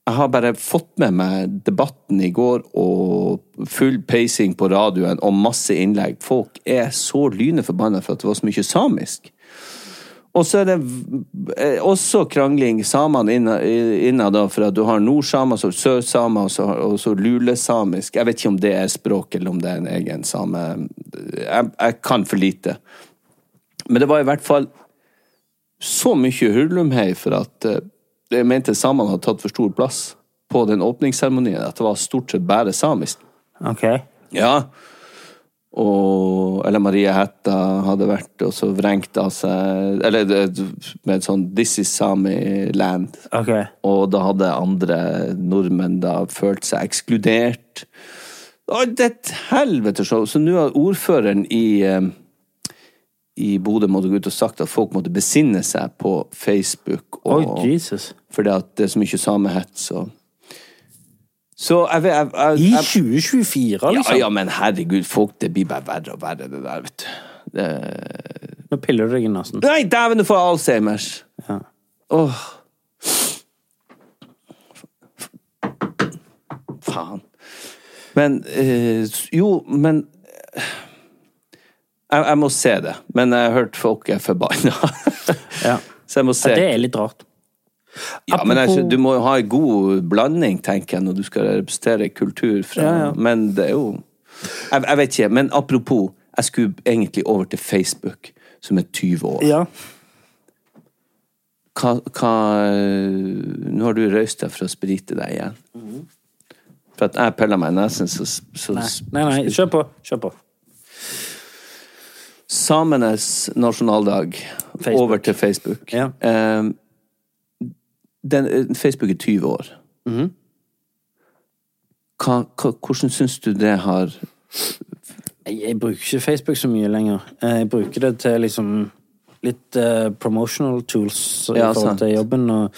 Speaker 3: jeg har bare fått med meg debatten i går og full peising på radioen og masse innlegg. Folk er så lyne forbanna for at det var så mye samisk. Og så er det v- eh, også krangling samene inna- i- innad, da, for at du har nordsamer, så sørsamer og så, og så lulesamisk. Jeg vet ikke om det er språk, eller om det er en egen same Jeg, jeg kan for lite. Men det var i hvert fall så mye hurlumhei for at eh, jeg mente samene hadde tatt for stor plass på den åpningsseremonien, at det var stort sett bare samisk.
Speaker 1: Ok.
Speaker 3: Ja. Og Eller Marie Hætta hadde vært og så vrengt av seg Eller det- med et sånn 'This is Sami land'.
Speaker 1: ok.
Speaker 3: Og da hadde andre nordmenn da følt seg ekskludert. Å, det er et helvete show! Så nå har ordføreren i eh, i Bodø måtte gå ut og sagt at folk måtte besinne seg på Facebook.
Speaker 1: Oi,
Speaker 3: Og,
Speaker 1: Jesus.
Speaker 3: fordi at det er så mye samehets og Så jeg vet jeg, jeg,
Speaker 1: I
Speaker 3: jeg,
Speaker 1: 2024, liksom?
Speaker 3: ja, ja, men herregud, folk, det blir bare verre og verre, det der, vet du. Det...
Speaker 1: Nå piller du deg i nesen.
Speaker 3: Nei, dæven, du får Alzheimers!
Speaker 1: Ja.
Speaker 3: Åh. Faen. Men eh, Jo, men jeg, jeg må se det. Men jeg har hørt folk er forbanna.
Speaker 1: Ja.
Speaker 3: Så jeg må
Speaker 1: Ja,
Speaker 3: se.
Speaker 1: det er litt rart.
Speaker 3: Ja, men jeg, skjø- du må jo ha en god blanding, tenker jeg, når du skal representere kultur fra Men det er jo jeg, jeg vet ikke. Men apropos, jeg skulle egentlig over til Facebook, som er 20 år.
Speaker 1: Ja.
Speaker 3: Hva, hva Nå har du røyst deg for å sprite deg igjen. For at jeg piller meg i nesen, så, så
Speaker 1: Mhm. Nei, nei, nei. kjør på. Kjør på.
Speaker 3: Samenes nasjonaldag
Speaker 1: Facebook.
Speaker 3: over til Facebook.
Speaker 1: Ja.
Speaker 3: Eh, den, eh, Facebook er 20 år. Mhm. hva, hva, hvordan syns du det har
Speaker 1: Jeg, jeg bruker ikke Facebook så mye lenger. Eh, Jeg bruker det til liksom litt eh, promotional tools i
Speaker 3: Ja,
Speaker 1: forhold
Speaker 3: sant.
Speaker 1: til jobben. Og,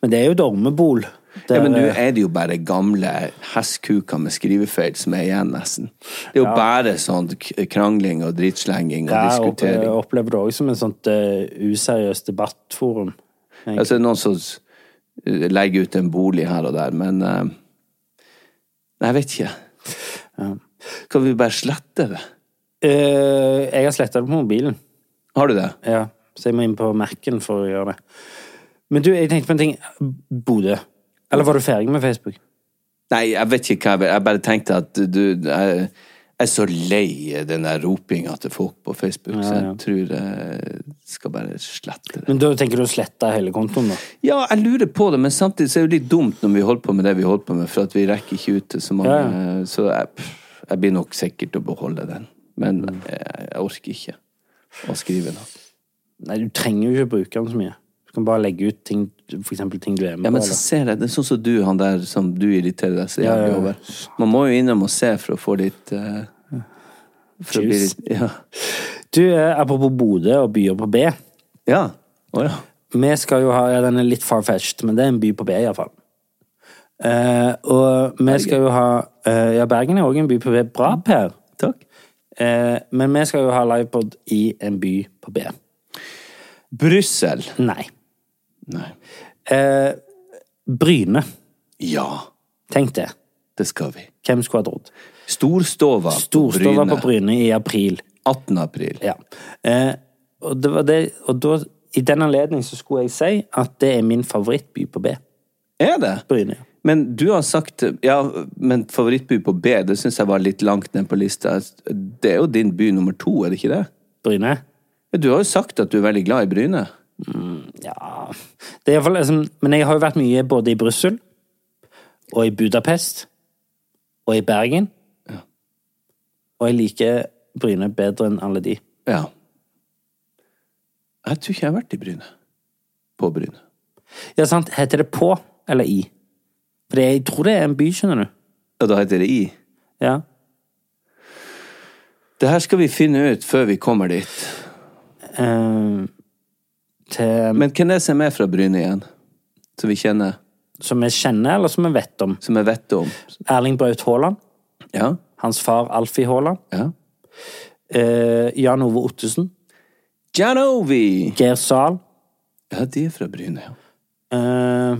Speaker 1: men det er jo dormebol.
Speaker 3: Ja, men nå
Speaker 1: Der, eh,
Speaker 3: er det jo bare gamle hestkuker med skrivefeil som er igjen, nesten. Det er jo bare sånn k- krangling og drittslenging og
Speaker 1: ja, jeg opplever,
Speaker 3: diskutering.
Speaker 1: jeg opplever det også som et sånt eh, useriøst debattforum. egentlig.
Speaker 3: Altså, det er noen som s- eh, legger ut en bolig her og der, men eh, Nei, jeg vet ikke. Kan vi bare slette det?
Speaker 1: Eh, jeg har sletta det på mobilen.
Speaker 3: Har du det?
Speaker 1: Ja, så jeg må inn på Mac-en for å gjøre det. Men du, jeg tenkte på en ting. Bodø. Eller var du ferdig med Facebook?
Speaker 3: Nei, jeg vet ikke hva jeg vil. Jeg bare tenkte at du Jeg jeg er så lei den der ropinga til folk på Facebook, så jeg tror jeg skal bare slette det.
Speaker 1: Men da tenker du å slette hele kontoen, da?
Speaker 3: Ja, jeg lurer på det, men samtidig så er det jo litt dumt når vi holder på med det vi holder på med, for at vi rekker ikke ut til så mange.
Speaker 1: Ja.
Speaker 3: Så jeg, pff, jeg blir nok sikkert til å beholde den. Men
Speaker 1: Mm.
Speaker 3: jeg, jeg orker ikke å skrive noe.
Speaker 1: Nei, du trenger jo ikke bruke den så mye. Du kan bare legge ut ting, for eksempel ting du er med
Speaker 3: Ja, men
Speaker 1: på.
Speaker 3: så
Speaker 1: eller-
Speaker 3: ser jeg, det er sånn som du, han der som du irriterer deg så jævlig
Speaker 1: ja.
Speaker 3: over. Man må jo innom og se for å få litt eh, For å bli
Speaker 1: Juice.
Speaker 3: litt Ja.
Speaker 1: Du, eh, apropos Bodø og byer på B.
Speaker 3: Ja. Å ja.
Speaker 1: Vi skal jo ha ja, Den er litt far-fetched, men det er en by på B, iallfall. Uh, og vi skal jo ha eh, Ja, Bergen er òg en by på B. Bra, Per.
Speaker 3: Mm. Takk.
Speaker 1: Eh, men vi skal jo ha livepod i en by på B.
Speaker 3: Brussel.
Speaker 1: Nei.
Speaker 3: Nei.
Speaker 1: Eh, Bryne.
Speaker 3: Ja,
Speaker 1: Tenk det.
Speaker 3: det skal vi.
Speaker 1: Hvem skulle ha trodd?
Speaker 3: Storstova på
Speaker 1: Storstova
Speaker 3: Bryne.
Speaker 1: på Bryne i april.
Speaker 3: 18. april.
Speaker 1: Ja. Eh, og det var det, og da, i den anledning så skulle jeg si at det er min favorittby på B.
Speaker 3: Er det?
Speaker 1: Bryne.
Speaker 3: Men du har sagt Ja, men favorittby på B, det syns jeg var litt langt ned på lista. Det er jo din by nummer to, er det ikke det?
Speaker 1: Bryne?
Speaker 3: Ja, Du har jo sagt at du er veldig glad i Bryne.
Speaker 1: Ja det er i hvert fall liksom, Men jeg har jo vært mye både i Brussel og i Budapest og i Bergen. Og jeg liker Bryne bedre enn alle de.
Speaker 3: Ja. Jeg tror ikke jeg har vært i Bryne. På Bryne.
Speaker 1: Ja, sant? Heter det på eller i? For det, jeg tror det er en by, skjønner du.
Speaker 3: Og da heter det I.
Speaker 1: Ja.
Speaker 3: Det her skal vi finne ut før vi kommer dit.
Speaker 1: Eh,
Speaker 3: Men hvem er det som er fra Bryne igjen? Som vi kjenner?
Speaker 1: Som vi kjenner, eller som vi vet om?
Speaker 3: Som jeg vet om?
Speaker 1: Erling Braut Haaland.
Speaker 3: Ja?
Speaker 1: Hans far Alfie Haaland.
Speaker 3: ja.
Speaker 1: Eh, Jan Ove Ottesen.
Speaker 3: Janovi!
Speaker 1: Geir Zahl.
Speaker 3: Ja, de er fra Bryne, ja.
Speaker 1: eh,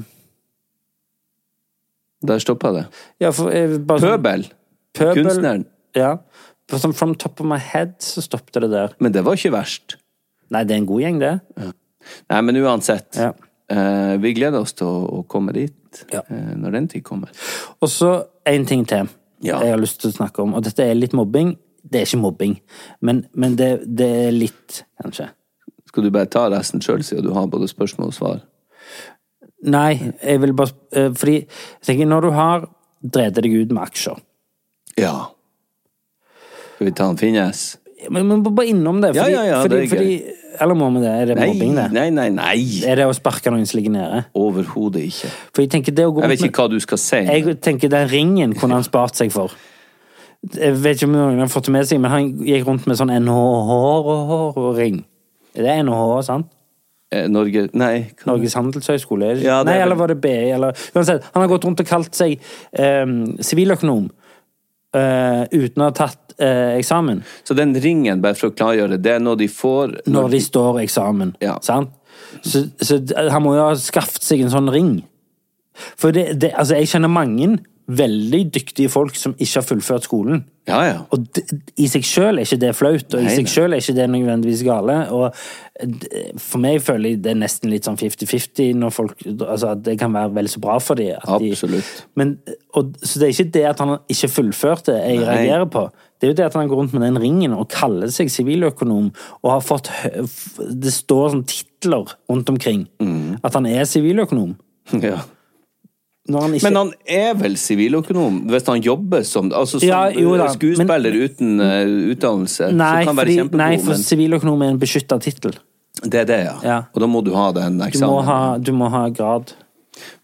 Speaker 3: Der stoppa det.
Speaker 1: ja, for, eh, bare sånn-
Speaker 3: Pøbel!
Speaker 1: Pøbel.
Speaker 3: Kunstneren.
Speaker 1: Ja. For sånn from top of my head så stoppet det der.
Speaker 3: Men det var ikke verst.
Speaker 1: Nei, det er en god gjeng, det.
Speaker 3: Nei, men uansett.
Speaker 1: Ja.
Speaker 3: Eh, vi gleder oss til å, å komme dit
Speaker 1: Ja.
Speaker 3: eh, når den tid kommer.
Speaker 1: Og så en ting til
Speaker 3: Ja.
Speaker 1: jeg har lyst til å snakke om, og dette er litt mobbing. Det er ikke mobbing, men, men det, det er litt, kanskje.
Speaker 3: Skal du bare ta resten sjøl, siden du har både spørsmål og svar?
Speaker 1: Nei, jeg vil bare eh, Fordi jeg tenker, når du har drevet deg ut med aksjer
Speaker 3: Ja. Skal vi ta han Finnes?
Speaker 1: Men, men bare innom det.
Speaker 3: Ja,
Speaker 1: Fordi,
Speaker 3: ja, ja,
Speaker 1: fordi,
Speaker 3: det er
Speaker 1: fordi, Eller må vi det? Er det
Speaker 3: Nei,
Speaker 1: mobbing, det?
Speaker 3: nei, nei. nei.
Speaker 1: Er det å sparke noen som ligger nede?
Speaker 3: Overhodet ikke.
Speaker 1: For jeg tenker det å gå
Speaker 3: Jeg
Speaker 1: rundt
Speaker 3: vet
Speaker 1: med-
Speaker 3: ikke hva du skal si.
Speaker 1: Jeg tenker den ringen kunne han spart seg for. Jeg vet ikke om noen har fått det med seg, men han gikk rundt med sånn NHH-ring. Det er NHH, sant?
Speaker 3: Eh, Norge Nei. hva-
Speaker 1: Norges handelshøyskole? er det ikke?
Speaker 3: Ja, det er
Speaker 1: Nei,
Speaker 3: vel-
Speaker 1: eller var det BI? Eller... Uansett, han har gått rundt og kalt seg eh, siviløkonom eh, uten å ha tatt eh, eksamen.
Speaker 3: Så den ringen, bare for å klargjøre, det er noe de får
Speaker 1: Når de står eksamen.
Speaker 3: Ja.
Speaker 1: Sant? Så, så d- han må jo ha skaffet seg en sånn ring. For det, det, altså, jeg kjenner mange veldig dyktige folk som ikke har fullført skolen.
Speaker 3: Ja, ja.
Speaker 1: Og d i seg sjøl er ikke det flaut, og i
Speaker 3: Nei, nei.
Speaker 1: seg sjøl er ikke det nødvendigvis gale. Og d for meg føler jeg det er nesten litt sånn 50-50 når folk Altså, at det kan være vel så bra for dem.
Speaker 3: Absolutt.
Speaker 1: De, men, og, så det er ikke det at han ikke fullførte, jeg
Speaker 3: Nei.
Speaker 1: reagerer på. Det er jo det at han går rundt med den ringen og kaller seg siviløkonom, og har fått hø- f- Det står sånn titler rundt omkring
Speaker 3: Mm.
Speaker 1: at han er siviløkonom.
Speaker 3: ja.
Speaker 1: Når han ikke
Speaker 3: Men han er vel siviløkonom, hvis han jobber som, altså som
Speaker 1: Ja, jo da,
Speaker 3: skuespiller uten eh, utdannelse?
Speaker 1: Nei,
Speaker 3: så kan være
Speaker 1: fordi,
Speaker 3: kjempegod,
Speaker 1: nei, for siviløkonom er en beskytta tittel.
Speaker 3: men det er det, ja.
Speaker 1: Ja.
Speaker 3: Og da må du ha den
Speaker 1: Du, må
Speaker 3: eksamen.
Speaker 1: ha- du må ha grad.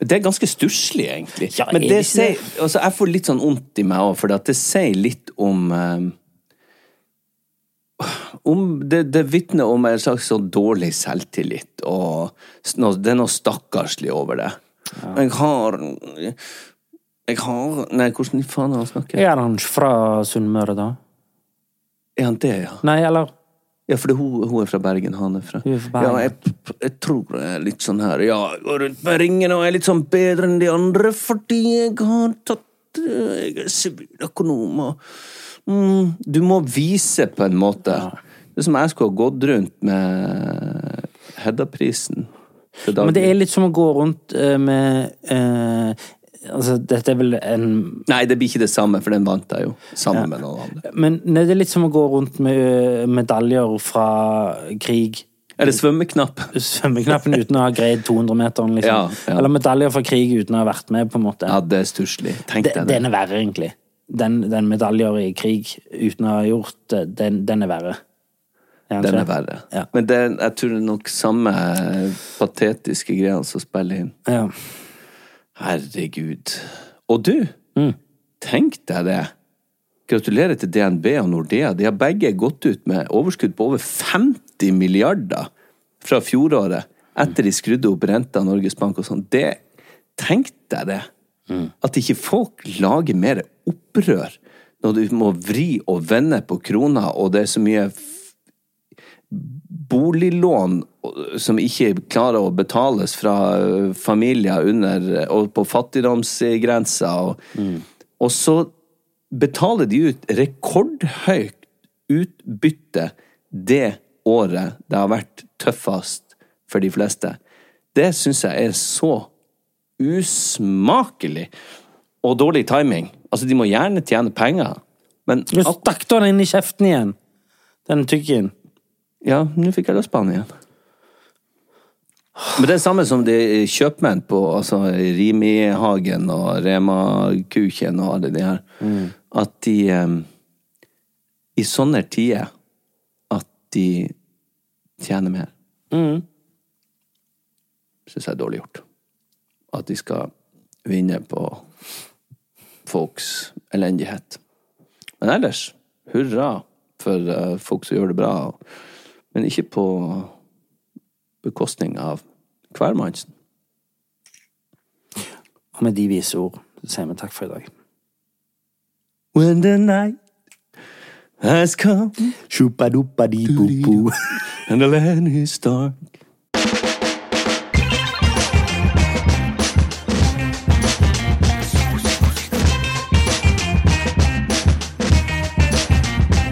Speaker 3: Men Det er ganske stusslig, egentlig.
Speaker 1: Ja,
Speaker 3: Men
Speaker 1: er
Speaker 3: det
Speaker 1: det ikke det?
Speaker 3: sier, altså, jeg får litt sånn vondt i meg òg, for det sier litt om eh, om det, det vitner om en slags sånn dårlig selvtillit, og s- noe- det er noe stakkarslig over det. Jeg har Jeg har Nei, hvordan faen er han snakker?
Speaker 1: Er han ikke fra Sunnmøre, da?
Speaker 3: Er han det, ja?
Speaker 1: Nei, eller?
Speaker 3: Ja, for det, hun, hun er fra Bergen, han er fra
Speaker 1: Hun er fra Bergen.
Speaker 3: Ja, jeg, jeg tror jeg er litt sånn her Ja, jeg går rundt med ringen og er litt sånn bedre enn de andre fordi jeg har tatt eh, Jeg er siviløkonom og mm, Du må vise på en måte. Det er som jeg skulle ha gått rundt med Hedda-prisen. til
Speaker 1: Men det
Speaker 3: daglig.
Speaker 1: er litt som å gå rundt eh, med eh, Altså, dette er vel en
Speaker 3: Nei, det blir ikke det samme, for den vant jeg jo sammen med noen andre.
Speaker 1: Men nei, det er litt som å gå rundt med eh, medaljer fra krig.
Speaker 3: Er det svømmeknapp?
Speaker 1: Svømmeknappen uten å ha greid 200-meteren,
Speaker 3: Ja,
Speaker 1: liksom.
Speaker 3: ja.
Speaker 1: Eller medaljer fra krig uten å ha vært med, på en måte.
Speaker 3: Ja, det er stusslig. Tenk
Speaker 1: De-
Speaker 3: deg det.
Speaker 1: den er verre, egentlig. Den, den medaljer i krig uten å ha gjort det, den, den er verre. han
Speaker 3: Den
Speaker 1: ikke?
Speaker 3: er verre.
Speaker 1: Ja.
Speaker 3: Men det, er- jeg tror det er nok samme patetiske greiene som spiller inn.
Speaker 1: Ja.
Speaker 3: Herregud. Og du,
Speaker 1: Mm.
Speaker 3: tenk deg det. Gratulerer til DNB og Nordea. De har begge gått ut med overskudd på over 50 milliarder fra fjoråret etter de skrudde opp renta av Norges Bank og sånn. Det, tenk deg det.
Speaker 1: Mm.
Speaker 3: At ikke folk lager mer opprør når du må vri og vende på krona, og det er så mye f- boliglån eh, som ikke klarer å betales fra ø, familier under ø, og på fattigdomsgrensa. Og, og så betaler de ut rekordhøyt utbytte det året det har vært tøffest for de fleste. Det syns jeg er så usmakelig og dårlig timing. Altså, de må gjerne tjene penger, men
Speaker 1: Du stakk da den inn i kjeften igjen! Den tyggen.
Speaker 3: Ja, nå fikk jeg lyst på han igjen. Men det er samme som de kjøpmenn på altså Rimi-hagen og Rema-kuken og alle de her. At de em, I sånne tider at de tjener mer. Syns jeg er dårlig gjort. At de skal vinne på folks elendighet. Men ellers, hurra for eh, folk som gjør det bra, men ikke på bekostning av hvermannsen.
Speaker 1: Og med de vise ord så sier vi takk for i dag.
Speaker 3: When the night has come
Speaker 1: Shupadupadipupu.
Speaker 3: and the land is dark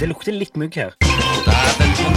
Speaker 6: Det lukter litt mugg her.
Speaker 2: Dæven, sånn